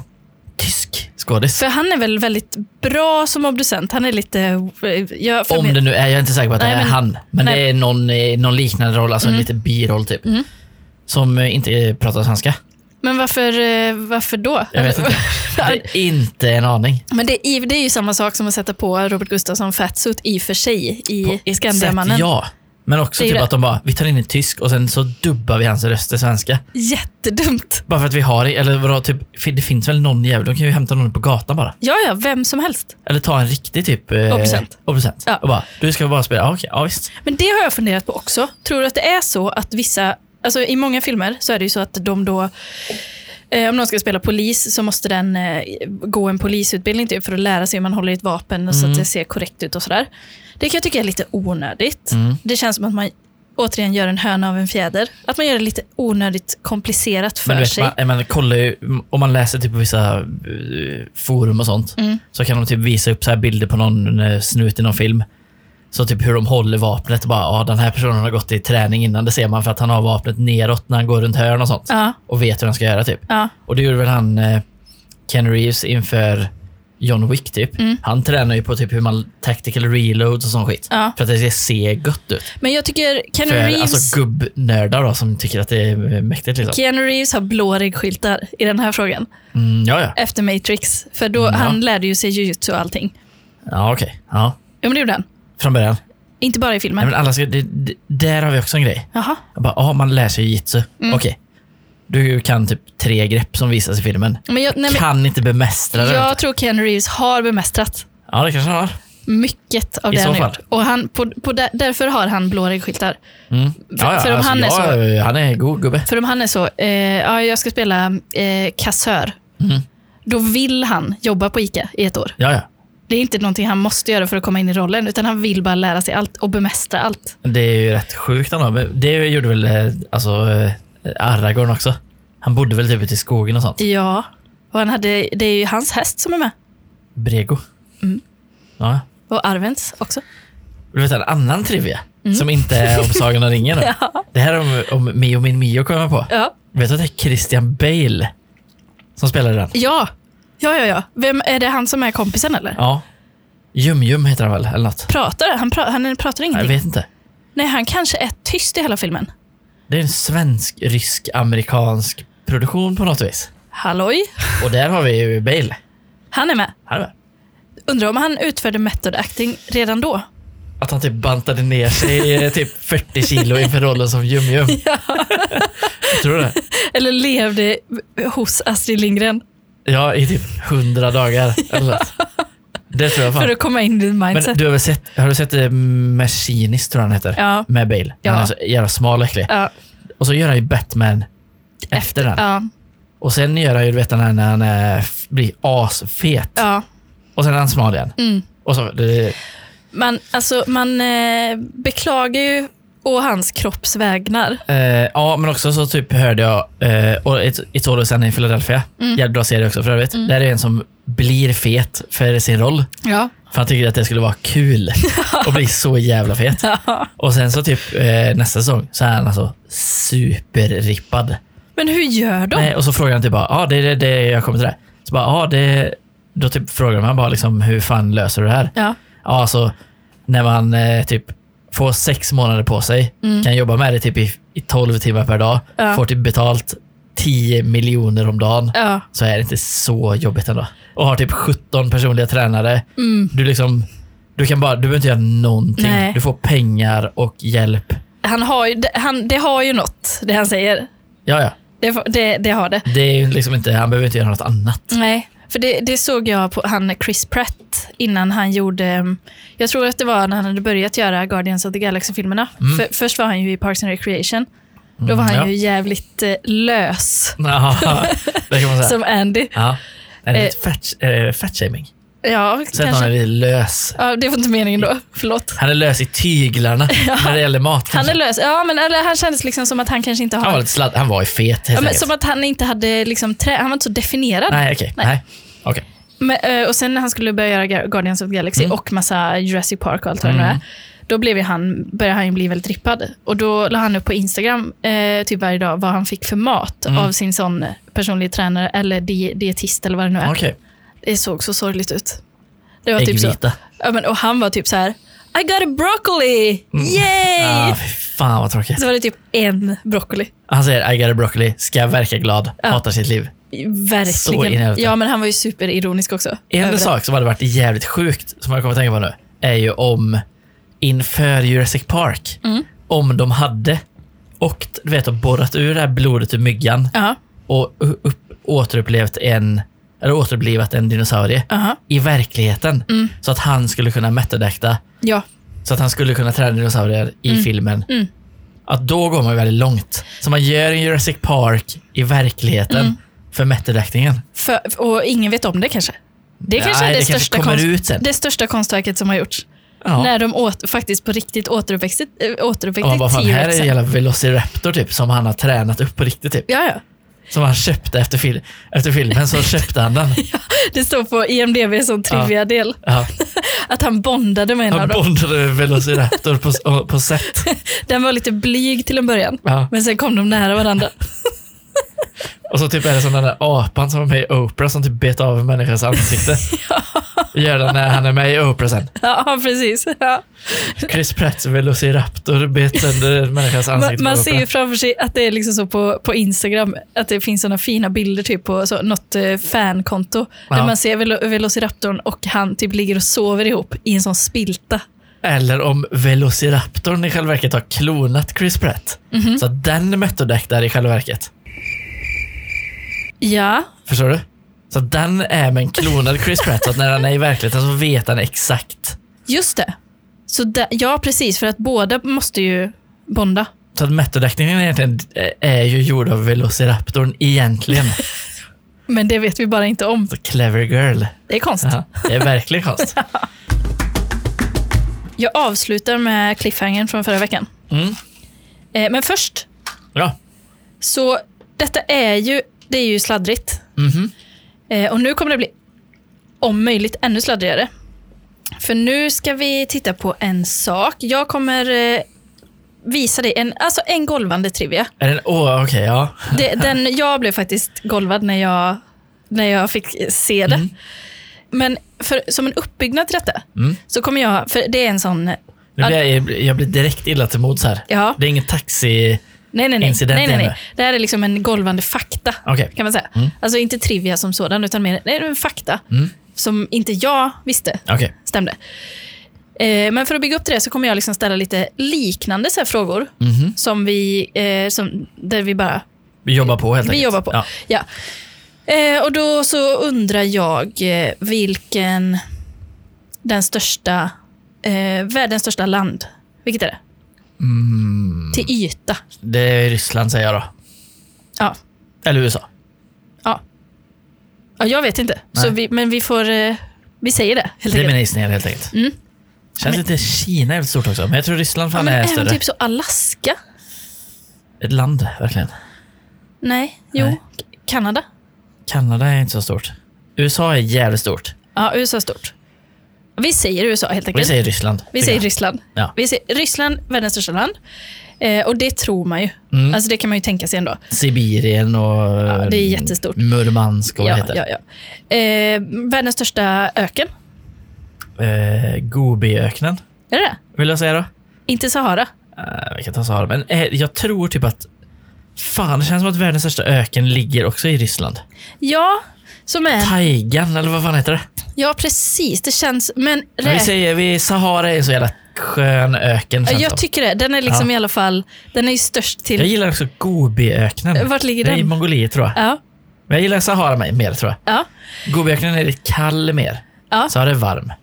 B: tysk skådis.
A: För han är väl väldigt bra som obducent. Han är lite... eh, Jag, för
B: Om det nu är, jag är inte säker på att
A: Nej,
B: det är
A: men-
B: han. Men
A: nej. Mm.
B: det är någon, eh, någon liknande roll, alltså en liten biroll typ. Som eh, inte eh, pratar svenska.
A: Men varför, eh, varför då?
B: Jag vet
A: [laughs]
B: inte. Jag har inte en aning.
A: Men det är, det är ju samma sak som att sätta på Robert Gustafsson fatsuit i och för sig
B: På
A: i
B: ett
A: Skandiamannen.
B: sätt, ja. Men också
A: Det är ju
B: typ
A: det.
B: att de bara, vi tar in en tysk och sen så dubbar vi hans röst till svenska.
A: Jättedumt.
B: Bara för att vi har det. Eller vadå, typ, för det finns väl någon jävel, de kan ju hämta någon på gatan bara.
A: Ja, ja, vem som helst.
B: Eller ta en riktig typ... Eh,
A: Obducent.
B: obducent.
A: Ja.
B: Och bara, du ska bara spela, ja okej, ja visst.
A: Men det har jag funderat på också. Tror du att det är så att vissa, alltså i många filmer så är det ju så att de då, eh, om någon ska spela polis så måste den eh, gå en polisutbildning typ för att lära sig hur man håller i ett
B: Mm. Mm.
A: vapen och så att det ser korrekt ut och sådär. Det kan jag tycka är lite onödigt. Det känns som att man återigen gör en höna av en fjäder. Att man gör det lite onödigt komplicerat för
B: Men du vet,
A: sig.
B: man, man kollar ju, om man läser typ på vissa eh, forum och sånt,
A: Mm.
B: så kan de typ visa upp så här bilder på någon eh, snut i någon film. Så typ hur de håller vapnet och bara, ja den här personen har gått i träning innan, det ser man för att han har vapnet neråt när han går runt hörn och sånt.
A: Ja,
B: Och vet hur han ska göra typ.
A: ja.
B: Och det gjorde väl han, eh, Ken Reeves, inför John Wick typ. Han tränar ju på typ hur man tactical reloads och sån skit.
A: Mm. Ja.
B: För att det ska se gött ut.
A: Men jag tycker Keanu
B: För
A: Reeves,
B: alltså gubbnördar då, som tycker att det är mäktigt liksom.
A: Keanu Reeves har blå reggskyltar i den här frågan.
B: Mm, ja, ja.
A: Efter Matrix. För då,
B: Mm, Ja.
A: han lärde ju sig jujutsu och allting.
B: Ja, okej. Ja,
A: Ja, men det gjorde han.
B: från början.
A: Inte bara i filmen.
B: Nej, men alla ska, det, det, där har vi också en grej.
A: Jaha.
B: Jag bara, ja, man lär sig jitsu.
A: Mm.
B: Okej. Du kan typ tre grepp som visas i filmen.
A: Men jag, nej, men,
B: Kan inte bemästra det.
A: jag tror Keanu Reeves har bemästrat
B: Ja, det kanske han har.
A: mycket av
B: I
A: det
B: så
A: han har
B: fall.
A: gjort. Och han, på, på där, därför har han blå reggskyltar.
B: Mm. Ja, ja,
A: för om
B: alltså,
A: han är
B: jag, han är god gubbe.
A: För om han är så, eh, ja, jag ska spela eh, kassör.
B: Mm.
A: Då vill han jobba på ICA i ett år.
B: Ja, ja.
A: Det är inte någonting han måste göra för att komma in i rollen, utan han vill bara lära sig allt och bemästra allt.
B: Det är ju rätt sjukt ändå. Men Det gjorde väl eh, alltså, eh, Aragorn också. Han bodde väl typ ute i skogen och sånt.
A: Ja, och han hade, det är ju hans häst som är med.
B: Brego.
A: Mm.
B: Ja.
A: Och Arvens också.
B: Du vet en annan trivia
A: Mm.
B: som inte är om Sagan
A: [laughs]
B: om ringen. då. Det här om, om Mio min Mio kommer jag på.
A: Ja.
B: Vet du att det är Christian Bale som spelade den?
A: ja, ja, ja, ja. Vem är det han som är kompisen eller?
B: Ja. Jum-Jum heter han väl, eller något?
A: Pratar han? Pra, han pratar
B: Jag
A: ingenting.
B: vet inte.
A: Nej, han kanske är tyst i hela filmen.
B: Det är en svensk, rysk, amerikansk produktion på något vis.
A: Halloj,
B: Och där har vi ju Bale.
A: han är med.
B: Här är
A: Undrar om han utförde method acting redan då?
B: Att han typ bantade ner sig eh, typ 40 kilo inför rollen som Jum-Jum. Tror du det?
A: Eller levde hos Astrid Lindgren
B: Ja, i typ 100 dagar. Eller något. Det tror jag fan.
A: för att komma in i mindset?
B: Men du har, väl sett, har du sett eh, Mercinis, tror jag han heter?
A: Ja.
B: Med Bale.
A: Ja.
B: Han är så jävla smal och äcklig.
A: Ja,
B: Och så gör han ju Batman efter, den.
A: ja,
B: Och sen gör han ju, du vet den här när han är, blir asfet.
A: ja. Mm.
B: Och sen är han smal igen. Och så, det,
A: Man, alltså, man eh, beklagar ju å hans kropps vägnar.
B: eh, ja, men också så typ hörde jag, eh, och ett, ett år sedan i Philadelphia,
A: Mm.
B: jävligt bra serie också för övrigt. Där är en som blir fet för sin roll.
A: Ja.
B: För han tycker att det skulle vara
A: [laughs]
B: kul att bli så jävla fet. Och sen så typ eh, nästa säsong så är han alltså superrippad.
A: Men hur gör de?
B: Nej, och så frågar han typ bara, ja ah, det är det, det jag kommer till det. här." Så bara, ja ah, det... Då typ frågar man bara liksom, hur fan löser du det här?
A: Ja.
B: Ja, alltså när man eh, typ får sex månader på sig, kan jobba med det typ i, i 12 timmar per dag,
A: Mm. Ja.
B: får typ betalt 10 miljoner om dagen,
A: Ja.
B: så är det inte så jobbigt ändå. Och har typ 17 personliga tränare.
A: Mm.
B: Du liksom, du kan bara, du behöver inte göra någonting.
A: Nej.
B: Du får pengar och hjälp.
A: Han har ju, det, han, det har ju något, det han säger.
B: Ja, ja.
A: Det, får- det, det har det.
B: Det är ju liksom inte, han behöver inte göra
A: [laughs]
B: något annat.
A: Nej, för det, det såg jag på han Chris Pratt innan han gjorde... mm, Jag tror att det var när han hade börjat göra Guardians of the Galaxy-filmerna. För, först var han ju i Parks and Recreation. Då var han
B: Mm. ja.
A: ju jävligt eh, lös,
B: Ja, det kan man säga.
A: som Andy.
B: Ja. Är det lite fat, eh, fatshaming?
A: Ja,
B: Så att han är
A: kanske.
B: lite lös.
A: Ja, det var inte meningen då. Förlåt.
B: Han är lös
A: [laughs]
B: i tyglarna när det gäller mat.
A: Han
B: kanske.
A: är lös. Ja, men eller, han kändes liksom som att han kanske inte
B: han var
A: har...
B: lite sladd. Han var ju fet helt
A: Ja, men,
B: enkelt.
A: som att han inte hade liksom trä, Han var inte så definierad.
B: Nej, okej.
A: Nej.
B: Nej. okej.
A: Men, eh, och sen när han skulle börja göra Ga- Guardians of the Galaxy
B: Mm.
A: och massa Jurassic Park och allt vad det nu är, då blev ju han, började han ju bli väldigt rippad. Och då la han upp på Instagram eh, typ varje dag vad han fick för mat
B: Mm.
A: av sin sån personlig tränare eller di- dietist eller vad det nu är.
B: Okej.
A: Det såg så sorgligt ut. Det var typ så.
B: Äggvita.
A: Ja, men, och han var typ så här, I got a broccoli! Yay!
B: Ah, fy fan vad tråkigt.
A: Så var det typ en broccoli.
B: Han säger I got a broccoli, ska verka glad, hatar sitt liv. Så in i
A: Verkligen.
B: helvete.
A: Ja, men han var ju superironisk också. över
B: En
A: det.
B: sak som hade varit jävligt sjukt, som jag kommer att tänka på nu, är ju om inför Jurassic Park,
A: Mm.
B: om de hade och du vet, och borrat ur det här blodet ur myggan
A: Ja,
B: och u- upp, återupplevt en eller återupplivat en dinosaurie
A: aha.
B: i verkligheten. Så att han skulle kunna metadäkta,
A: ja.
B: så att han skulle kunna träna dinosaurier i filmen. Att då går man ju väldigt långt. Så man gör en Jurassic Park i verkligheten för metadäktningen.
A: För, och ingen vet om det kanske. Det kanske
B: Nej,
A: är det,
B: det kanske
A: största
B: kommer ut sen.
A: det största konstverket som har gjorts.
B: Ja.
A: När de åt, faktiskt på riktigt återuppväckte, äh,
B: Och
A: återuppväckte
B: man bara, fan, här är en
A: T-rexen.
B: jävla Velociraptor typ, som han har tränat upp på riktigt. Typ.
A: Ja, ja.
B: Som han köpte efter, fil- efter filmen, så köpte han den.
A: Det står på IMDB som trivia-del.
B: Ja.
A: Att han bondade med en av
B: Han
A: dem.
B: bondade med Velociraptor på, på set.
A: Den var lite blyg till en början.
B: Ja.
A: Men sen kom de nära
B: [laughs]
A: varandra.
B: Och så typ är det som den där apan som var med i Oprah som typ bet av en människas ansikte.
A: [laughs]
B: Gör det när han är med i Oprah sen.
A: Ja, precis. Ja.
B: Chris Pratts Velociraptor bet sönder en människas
A: Man,
B: ansikte
A: man
B: på
A: ser ju
B: Oprah.
A: framför sig att det är liksom så på, på Instagram, att det finns såna fina bilder typ på så, något eh, fankonto. Där
B: Ja.
A: man ser Vel- Velociraptorn och han typ ligger och sover ihop i en sån spilta.
B: Eller om Velociraptorn i själva verket har klonat Chris Pratt.
A: Mhm.
B: Så att den mötterdäck där i själva verket.
A: Ja,
B: Förstår du? Så att den är med en klonad Chris Pratt. Så att när han är i verkligheten så vet han exakt.
A: just det. Så där, ja, precis. För att båda måste ju bonda.
B: Så att mötterdäckningen egentligen eh, är ju gjord av Velociraptorn egentligen.
A: Men det vet vi bara inte om.
B: Så clever girl.
A: Det är konst.
B: Ja, det är
A: [laughs]
B: verkligen konst.
A: Jag avslutar med cliffhangern från förra veckan.
B: Mm.
A: Eh, men först,
B: Ja.
A: så detta är ju, det är ju sladdrigt.
B: Mhm.
A: Eh, och nu kommer det bli om möjligt ännu sladdrigare. För nu ska vi titta på en sak. Jag kommer eh, visa dig en, alltså en golvande trivia.
B: Är den... Åh, okej, ja.
A: Det, den, jag blev faktiskt golvad när jag, när jag fick se det. Men för, som en uppbyggnad till detta
B: Mm.
A: så kommer jag, för det är en sån,
B: Nu blir jag, jag blir direkt illa till mods här.
A: ja,
B: Det är ingen taxi...
A: nej nej nej,
B: Incident
A: nej, nej, nej.
B: ännu.
A: Det här är liksom en golvande fakta.
B: Okej.
A: kan man säga.
B: Mm.
A: Alltså inte trivia som sådan, utan mer nej, men fakta
B: Mm.
A: som inte jag visste
B: Okej.
A: stämde. Eh, men för att bygga upp till det så kommer jag liksom ställa lite liknande så här frågor
B: Mhm.
A: som vi, eh, som, där vi bara
B: Vi jobbar på helt
A: vi
B: enkelt.
A: jobbar på.
B: Ja.
A: Ja. Eh, och då så undrar jag eh, vilken den största, eh, världens största land, vilket är det?
B: Mm.
A: Till yta.
B: Det är Ryssland säger jag då.
A: Ja.
B: Eller USA.
A: ja jag vet inte, så
B: Nej.
A: vi, men vi får, eh, vi säger det helt
B: Det är
A: enkelt.
B: mina gissningar helt enkelt.
A: Mm.
B: Känns lite Kina är väldigt stort också, men jag tror Ryssland
A: Ja,
B: fan
A: men
B: är
A: även
B: större.
A: typ så Alaska.
B: Ett land, verkligen.
A: Nej, jo.
B: Nej.
A: Kanada.
B: Kanada är inte så stort. USA är jävligt stort.
A: Ja, USA är stort. Vi säger USA helt
B: Vi
A: enkelt.
B: säger Ryssland.
A: Mm. Vi
B: tycker
A: säger
B: jag.
A: Ryssland.
B: Ja.
A: Vi säger Ryssland, världens största land. Eh, och det tror man ju.
B: Mm.
A: Alltså det kan man ju tänka sig ändå.
B: Sibirien och... Ja,
A: det är jättestort.
B: Murmansk och vad
A: Ja,
B: heter.
A: ja, ja. Eh, världens största öken.
B: Eh, Gobiöknen,
A: Är det det?
B: vill jag säga då.
A: Inte Sahara.
B: Eh, vi kan ta Sahara, men eh, jag tror typ att... Fan, det känns som att världens största öken ligger också i Ryssland.
A: Ja, som är...
B: Taigan, eller vad fan heter det?
A: Ja, precis. Det känns... Men
B: Men Vi
A: räk-
B: säger vi, Sahara är en så jävla skön öken.
A: Ja,
B: känns
A: jag
B: som.
A: tycker det. Den är liksom
B: Ja.
A: i alla fall... Den är ju störst
B: jag
A: till...
B: gillar också Gobiöknen.
A: Vart ligger
B: Det är i
A: den?
B: Mongoliet tror jag.
A: Ja,
B: Men jag gillar Sahara mer, mer tror jag.
A: ja,
B: Gobiöknen är lite kall mer.
A: ja.
B: Sahara är varm.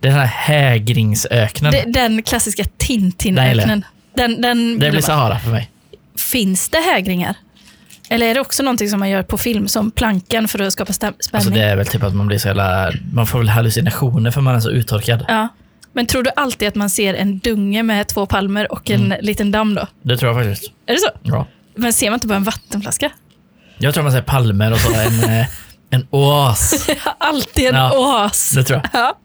B: Det är den här hägringsöknen.
A: Det-
B: Det,
A: Den klassiska
B: Nej, eller?
A: Tintin-öknen. Den, den vill
B: blir
A: man-
B: Sahara för mig.
A: Finns det hägringar? Eller är det också någonting som man gör på film, som plankan för att skapa stäm- spänning?
B: Alltså det är väl typ att man blir så jävla... Man får väl hallucinationer för man är så uttorkad.
A: ja. Men tror du alltid att man ser en dunge med två palmer och en
B: Mm.
A: liten damm då?
B: Det tror jag faktiskt.
A: Är det så?
B: Ja.
A: Men ser man inte bara en vattenflaska?
B: Jag tror man säger palmer och så en, eh, en
A: [laughs]
B: oas.
A: alltid en
B: Ja.
A: oas.
B: Det tror jag.
A: Ja.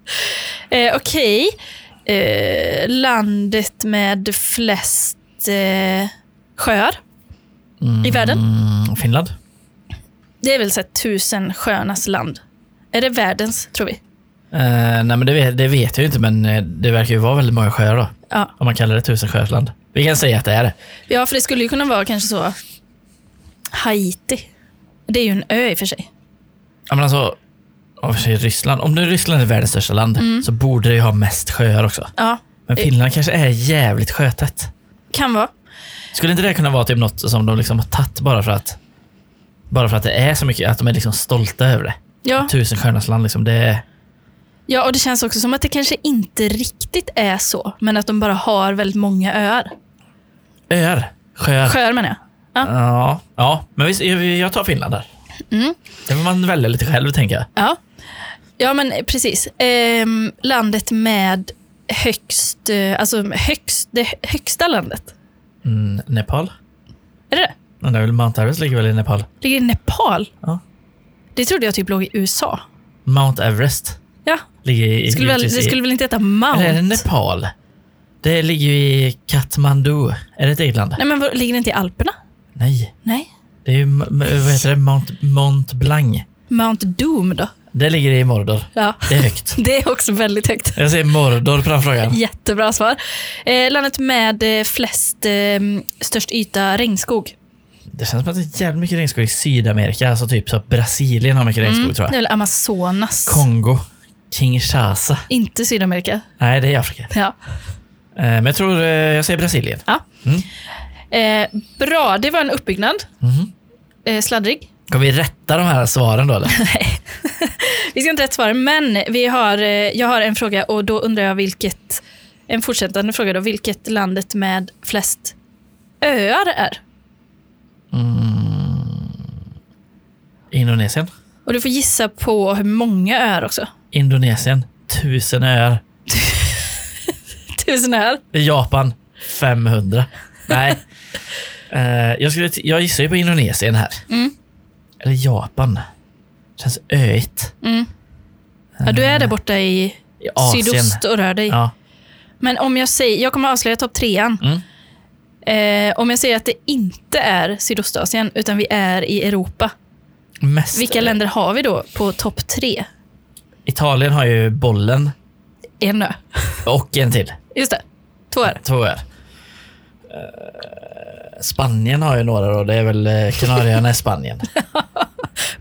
A: Eh, Okej. Eh, landet med flest eh, sjöar i världen?
B: Mm, Finland?
A: Det är väl så här, tusen sjöarnas land. Är det världens, tror vi?
B: Eh, nej men det vet, det vet jag ju inte men eh, det verkar ju vara väldigt många sjöar då.
A: Ja.
B: Om man kallar det tusensjöland. Vi kan säga att det är det.
A: Ja, för det skulle ju kunna vara kanske så Haiti. Det är ju en ö i och för sig.
B: Ja men alltså, om vi säger Ryssland. Om nu Ryssland är världens största land så borde det ju ha mest sjöar också.
A: Ja,
B: Men Finland kanske är jävligt sjötätt.
A: kan vara.
B: Skulle inte det kunna vara typ något som de liksom har tagit bara för att bara för att det är så mycket, att de är liksom stolta över det.
A: Ja.
B: Tusensjöarnas land, liksom, det är...
A: ja, och det känns också som att det kanske inte riktigt är så, men att de bara har väldigt många öar.
B: Öar. Sjöar.
A: Sjöar menar jag. Ja.
B: Ja, ja, men visst, jag- jag tar Finland där.
A: Mm.
B: Det får man välja lite själv, tänker jag.
A: Ja, ja men eh, precis. Ehm, landet med högst, eh, alltså högst, det högsta landet.
B: Mm, Nepal?
A: Är det det?
B: Den där väl Mount Everest ligger väl i Nepal?
A: Ligger i Nepal?
B: Ja.
A: Det trodde jag typ låg i USA.
B: Mount Everest
A: Ja,
B: ligger i...
A: det skulle, väl,
B: givetvis
A: det
B: i-
A: skulle väl inte heta
B: Eller är
A: Mount?
B: det Nepal? Det ligger ju i Kathmandu. Är det ett eget land?
A: Nej, men vad- ligger det inte i Alperna?
B: Nej.
A: Nej.
B: Det är ju, m- m- vad heter det? Mount, Mont Blanc.
A: Mount Doom då?
B: Det ligger i Mordor.
A: Ja. [laughs]
B: Det är högt.
A: Det är också väldigt högt.
B: Jag säger Mordor på den frågan.
A: Jättebra svar. Eh, landet med eh, flest, eh, störst yta regnskog.
B: Det känns som att det är jävligt mycket regnskog i Sydamerika. Alltså typ så att Brasilien har mycket regnskog tror
A: Det är
B: jag.
A: väl Amazonas.
B: Kongo. Kinshasa.
A: Inte Sydamerika.
B: Nej, det är Afrika.
A: Ja.
B: Eh, Men jag tror eh, jag säger Brasilien.
A: Eh, bra, det var en uppbyggnad.
B: Mhm.
A: Eh, sladdrig.
B: Kommer vi rätta de här svaren då eller?
A: [laughs] Vi ska inte rätt svara, men vi har, eh, jag har en fråga och då undrar jag vilket, en fortsättande fråga då, vilket landet med flest öar är.
B: Indonesien.
A: Och du får gissa på hur många öar också. [laughs]
B: Indonesien. Tusen öar.
A: Tusen öar.
B: Japan. 500.
A: [laughs]
B: Nej. Eh, jag, skulle t- jag gissar ju på Indonesien här.
A: Mm.
B: Eller Japan. Känns öigt.
A: Mm. Ja, du är där borta i
B: I Asien.
A: sydost och rör dig.
B: Ja.
A: Men om jag säger, jag kommer avslöja topp trean.
B: Mm.
A: Eh, om jag säger att det inte är Sydostasien, utan vi är i Europa.
B: Mest.
A: Vilka länder har vi då på topp tre?
B: Italien har ju bollen.
A: En ö.
B: Och en till.
A: Just det. Två öar.
B: Två öar. Eh, Spanien har ju några då. Det är väl eh, Kanarieöarna i Spanien.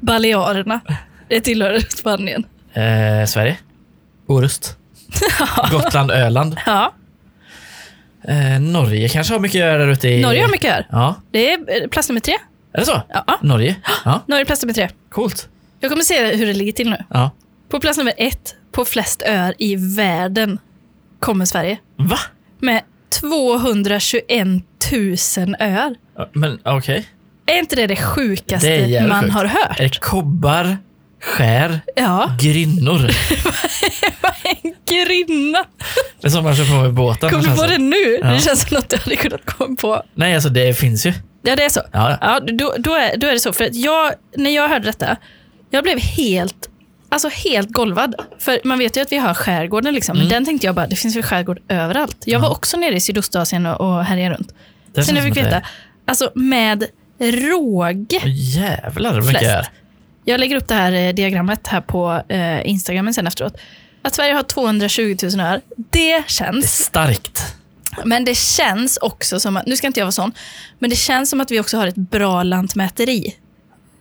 A: Balearerna. Det tillhör Spanien.
B: Eh, Sverige. [laughs] Orust. Gotland, Öland.
A: Ja,
B: Eh, Norge kanske har mycket öar där ute i...
A: Norge har mycket öar.
B: Ja,
A: Det är eh, plats nummer tre.
B: är det så?
A: Ja,
B: Norge? Ja,
A: Norge är plats nummer tre.
B: coolt.
A: Jag kommer se hur det ligger till nu.
B: Ja.
A: På plats nummer ett, på flest öar i världen, kommer Sverige.
B: Va?
A: Med 221 000 öar.
B: Ja, Men okej.
A: Är inte det det sjukaste
B: Det är jävligt
A: man
B: sjukt. Eh.
A: har hört?
B: Är det kobbar, skär,
A: Ja,
B: grynnor?
A: en [laughs] grinna.
B: Det är som man kör på med båten.
A: Kom du
B: känns
A: på
B: det.
A: det nu?
B: alltså, Ja.
A: Det känns som något jag hade kunnat komma på.
B: Nej, alltså det finns ju.
A: Ja, det är så.
B: Ja,
A: Ja, då, då, är, då är det så. För att jag, när jag hörde detta, jag blev helt, alltså helt golvad. För man vet ju att vi har skärgården, liksom.
B: Mm.
A: men den tänkte jag bara, det finns väl skärgård överallt. Jag var också nere i Sydostasien och, och härjade runt. Sen
B: det känns
A: jag fick
B: som att det
A: veta, alltså med råge
B: är- Jävlar vad mycket
A: Flest.
B: öar.
A: Jag lägger upp det här eh, diagrammet här på eh, Instagramen sen efteråt. Att Sverige har 220 000 öar, det känns.
B: Starkt.
A: Men det känns också som att, nu ska inte jag vara sån, men det känns som att vi också har ett bra lantmäteri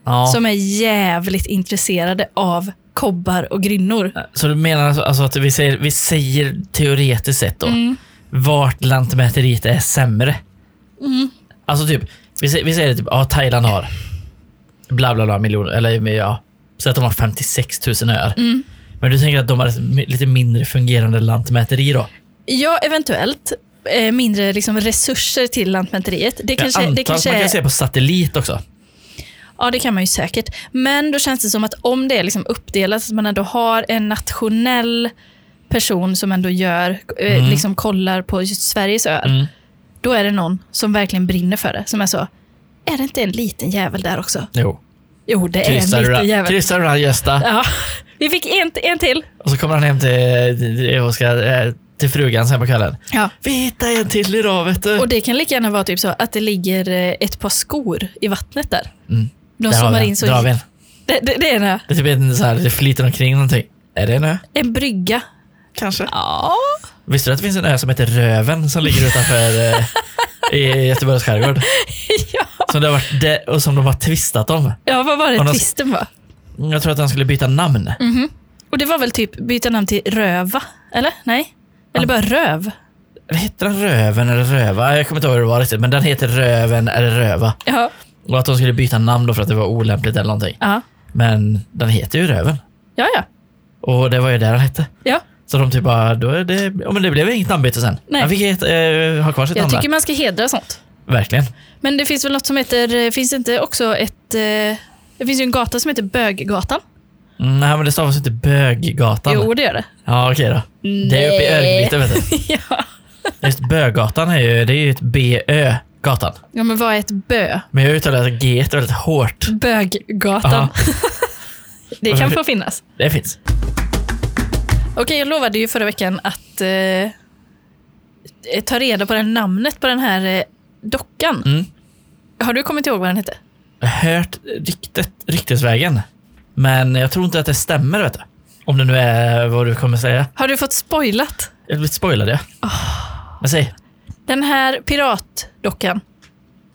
B: Ja.
A: som är jävligt intresserade av kobbar och grynnor.
B: Så du menar alltså- alltså att vi säger, vi säger teoretiskt sett då,
A: Mm.
B: vart lantmäteriet är sämre?
A: Mm.
B: Alltså typ, vi säger, vi säger typ, ja Thailand har bla bla bla miljoner, eller men ja, så att de har 56 000 öar.
A: Mm.
B: Men du tänker att de har ett mi- lite mindre fungerande lantmäteri då?
A: Ja, eventuellt eh, mindre liksom, resurser till lantmäteriet. Det
B: Jag
A: kanske,
B: antar
A: det kanske
B: att man
A: är,
B: kan se på satellit också.
A: Ja, det kan man ju säkert. Men då känns det som att om det är liksom uppdelat, att man ändå har en nationell person som ändå gör, eh,
B: Mm.
A: liksom kollar på just Sveriges öar,
B: Mm.
A: då är det någon som verkligen brinner för det. Som är så, är det inte en liten jävel där också?
B: Jo.
A: Jo, det är en
B: Kryssar du
A: liten
B: där-
A: jävel.
B: kryssar du där Gösta?
A: Ja. Vi fick en, en till.
B: Och så kommer han hem till, och ska, eh, till frugan sen på kvällen.
A: Ja.
B: Vi hittade en till idag vet du.
A: [laughs] Och det kan lika gärna vara typ så att det ligger eh, ett par skor i vattnet där.
B: Mm.
A: De
B: Där har vi
A: zoomar
B: den.
A: in så...
B: Där har vi den.
A: Det, det, det är en, ö.
B: Det är typ en så här, det flyter omkring någonting. Är det en ö?
A: en brygga.
B: Kanske.
A: Ja.
B: Visste du att det finns en ö som heter Röven som ligger utanför eh, i Göteborgs skärgård?
A: [laughs] ja.
B: Som det har varit de- och som de har tvistat om.
A: ja, vad var
B: Och
A: det
B: de-
A: tvisten var?
B: Jag tror att han skulle byta namn.
A: Mm. Och det var väl typ byta namn till Röva? Eller? Nej? Eller bara Röv?
B: Heter den Röven eller Röva? Jag kommer inte ihåg hur det var riktigt, men den heter Röven eller Röva.
A: Ja.
B: Och att de skulle byta namn då för att det var olämpligt eller någonting.
A: Ja,
B: Men den heter ju Röven.
A: ja. ja.
B: Och det var ju där den hette.
A: ja.
B: Så de typ bara, då är det, ja, men det blev inget namnbyte sen.
A: Nej.
B: Han fick heta, eh, ha kvar sitt
A: Jag
B: namn
A: tycker man ska hedra sånt.
B: där. Verkligen.
A: Men det eh, finns väl något som heter... Finns det inte också ett... eh, Det finns ju en gata som heter Böggatan.
B: Mm, Nej, men det stavas inte Böggatan.
A: Jo, det gör det.
B: Ja, okej då. Det är uppe i
A: Nej.
B: Örgryte, vet du.
A: [laughs] ja.
B: Just Böggatan är ju, det är ju ett BÖ, gatan.
A: ja, men vad är ett bö?
B: Men jag uttalar G väldigt hårt.
A: Böggatan.
B: Ja,
A: Det
B: [laughs]
A: kan få finnas.
B: det finns.
A: Okej, jag lovade ju förra veckan att eh, ta reda på det här namnet på den här eh, dockan.
B: Mm.
A: Har du kommit ihåg vad den hette?
B: Jag har hört ryktet, ryktesvägen. Men jag tror inte att det stämmer, vet du. Om det nu är vad du kommer säga.
A: Har du fått spoilat?
B: Jag blir spoilad, ja. Men säg.
A: Den här piratdockan,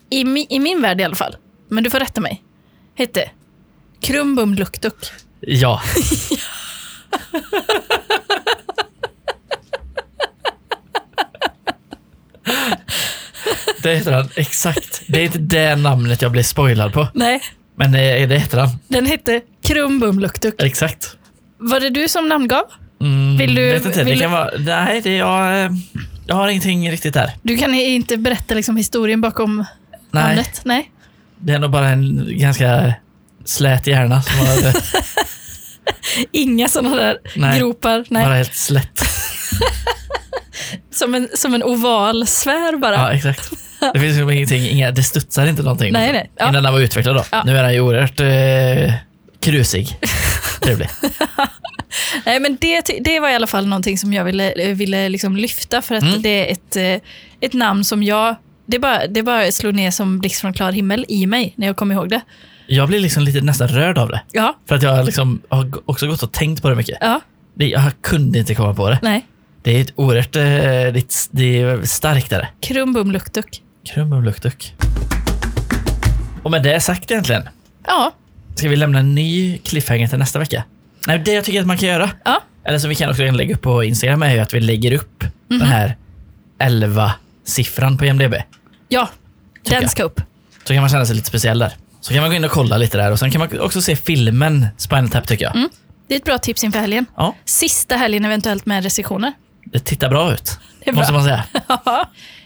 A: i, mi, i min värld i alla fall, men du får rätta mig, hette Krumbumluktuk.
B: Ja. Det heter han, exakt. Det är inte det namnet jag blev spoilad på.
A: Nej,
B: Men eh, det, det heter han,
A: den hette Krumbumluktuk.
B: Eh. exakt.
A: Var det du som namngav?
B: Mm,
A: Vill du-
B: vet inte,
A: vill
B: det kan
A: du-
B: vara, nej, det, jag, eh, jag har ingenting riktigt där.
A: Du kan inte berätta liksom historien bakom
B: Nej,
A: namnet? Nej.
B: Det är nog bara en ganska slät hjärna som
A: [laughs]
B: har, eh,
A: Inga sådana där
B: Nej.
A: gropar? Nej.
B: bara helt slätt.
A: Som, en, som en oval sfär bara?
B: Ja, exakt. Det finns ju ingenting, inga, det studsar inte någonting.
A: Nej, nej. Ja.
B: Innan den var utvecklad då.
A: Ja.
B: Nu är den ju oerhört eh, krusig.
A: [laughs]
B: Trevlig.
A: Nej, men det, ty- det var i alla fall någonting som jag ville, eh, ville liksom lyfta för att
B: Mm.
A: det är ett, eh, ett namn som jag... Det bara, det bara slog ner som blixt från klar himmel i mig när jag kom ihåg det.
B: Jag blir liksom lite nästan rörd av det.
A: Ja,
B: För att jag liksom har g- också gått och tänkt på det mycket.
A: ja,
B: Det- Jag kunde inte komma på det.
A: nej.
B: Det är ett oerhört eh, det är ett- det är starkt. Där.
A: Krumbumluktuk.
B: Krummuluktuk. Och med det sagt egentligen,
A: Ja,
B: ska vi lämna en ny cliffhanger till nästa vecka? Nej, det jag tycker att man kan göra,
A: ja,
B: eller som vi kan också lägga upp på Instagram, är ju att vi lägger upp
A: Mhm.
B: den här 11-siffran på IMDB.
A: ja. Den
B: jag.
A: ska upp.
B: Så kan man känna sig lite speciell där. Så kan man gå in och kolla lite där och sen kan man också se filmen Spinal Tap tycker jag.
A: Det är ett bra tips inför helgen.
B: Ja,
A: Sista helgen eventuellt med restriktioner.
B: det tittar bra ut.
A: Det är
B: Måste
A: bra.
B: man säga.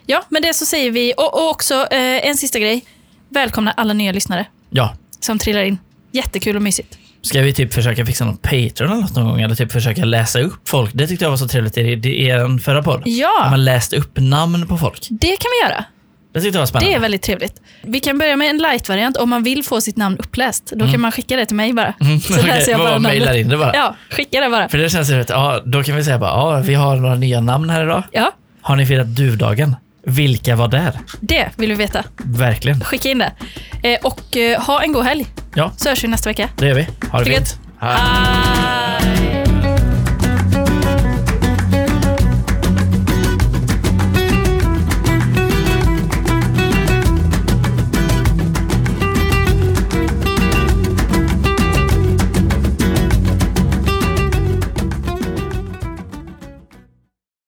A: ja, men det så säger vi. Och, och också eh, en sista grej. Välkomna alla nya lyssnare
B: Ja.
A: som trillar in. Jättekul och mysigt.
B: Ska vi typ försöka fixa någon Patreon eller något någon gång? Eller typ försöka läsa upp folk? Det tyckte jag var så trevligt i, i er förra podd.
A: Ja.
B: När Man läste upp namn på folk.
A: Det kan vi göra.
B: Det tyckte jag var spännande.
A: Det är väldigt trevligt. Vi kan börja med en light-variant. Om man vill få sitt namn uppläst, då kan man skicka det till mig bara. Så
B: Mm. [laughs] Okej,
A: läser jag
B: vad
A: bara
B: man mejlar
A: namnet.
B: in det bara.
A: Ja, skicka det bara.
B: För det känns ju att, ja, då kan vi säga bara, ja, vi har några nya namn här idag.
A: Ja,
B: Har ni firat duvdagen? Vilka var där?
A: det vill vi veta.
B: Verkligen.
A: Skicka in det. Eh, och eh, ha en god helg,
B: Ja,
A: så hörs vi nästa vecka.
B: det gör vi. Ha det
A: Tycker
B: fint. Hej.
A: Hej!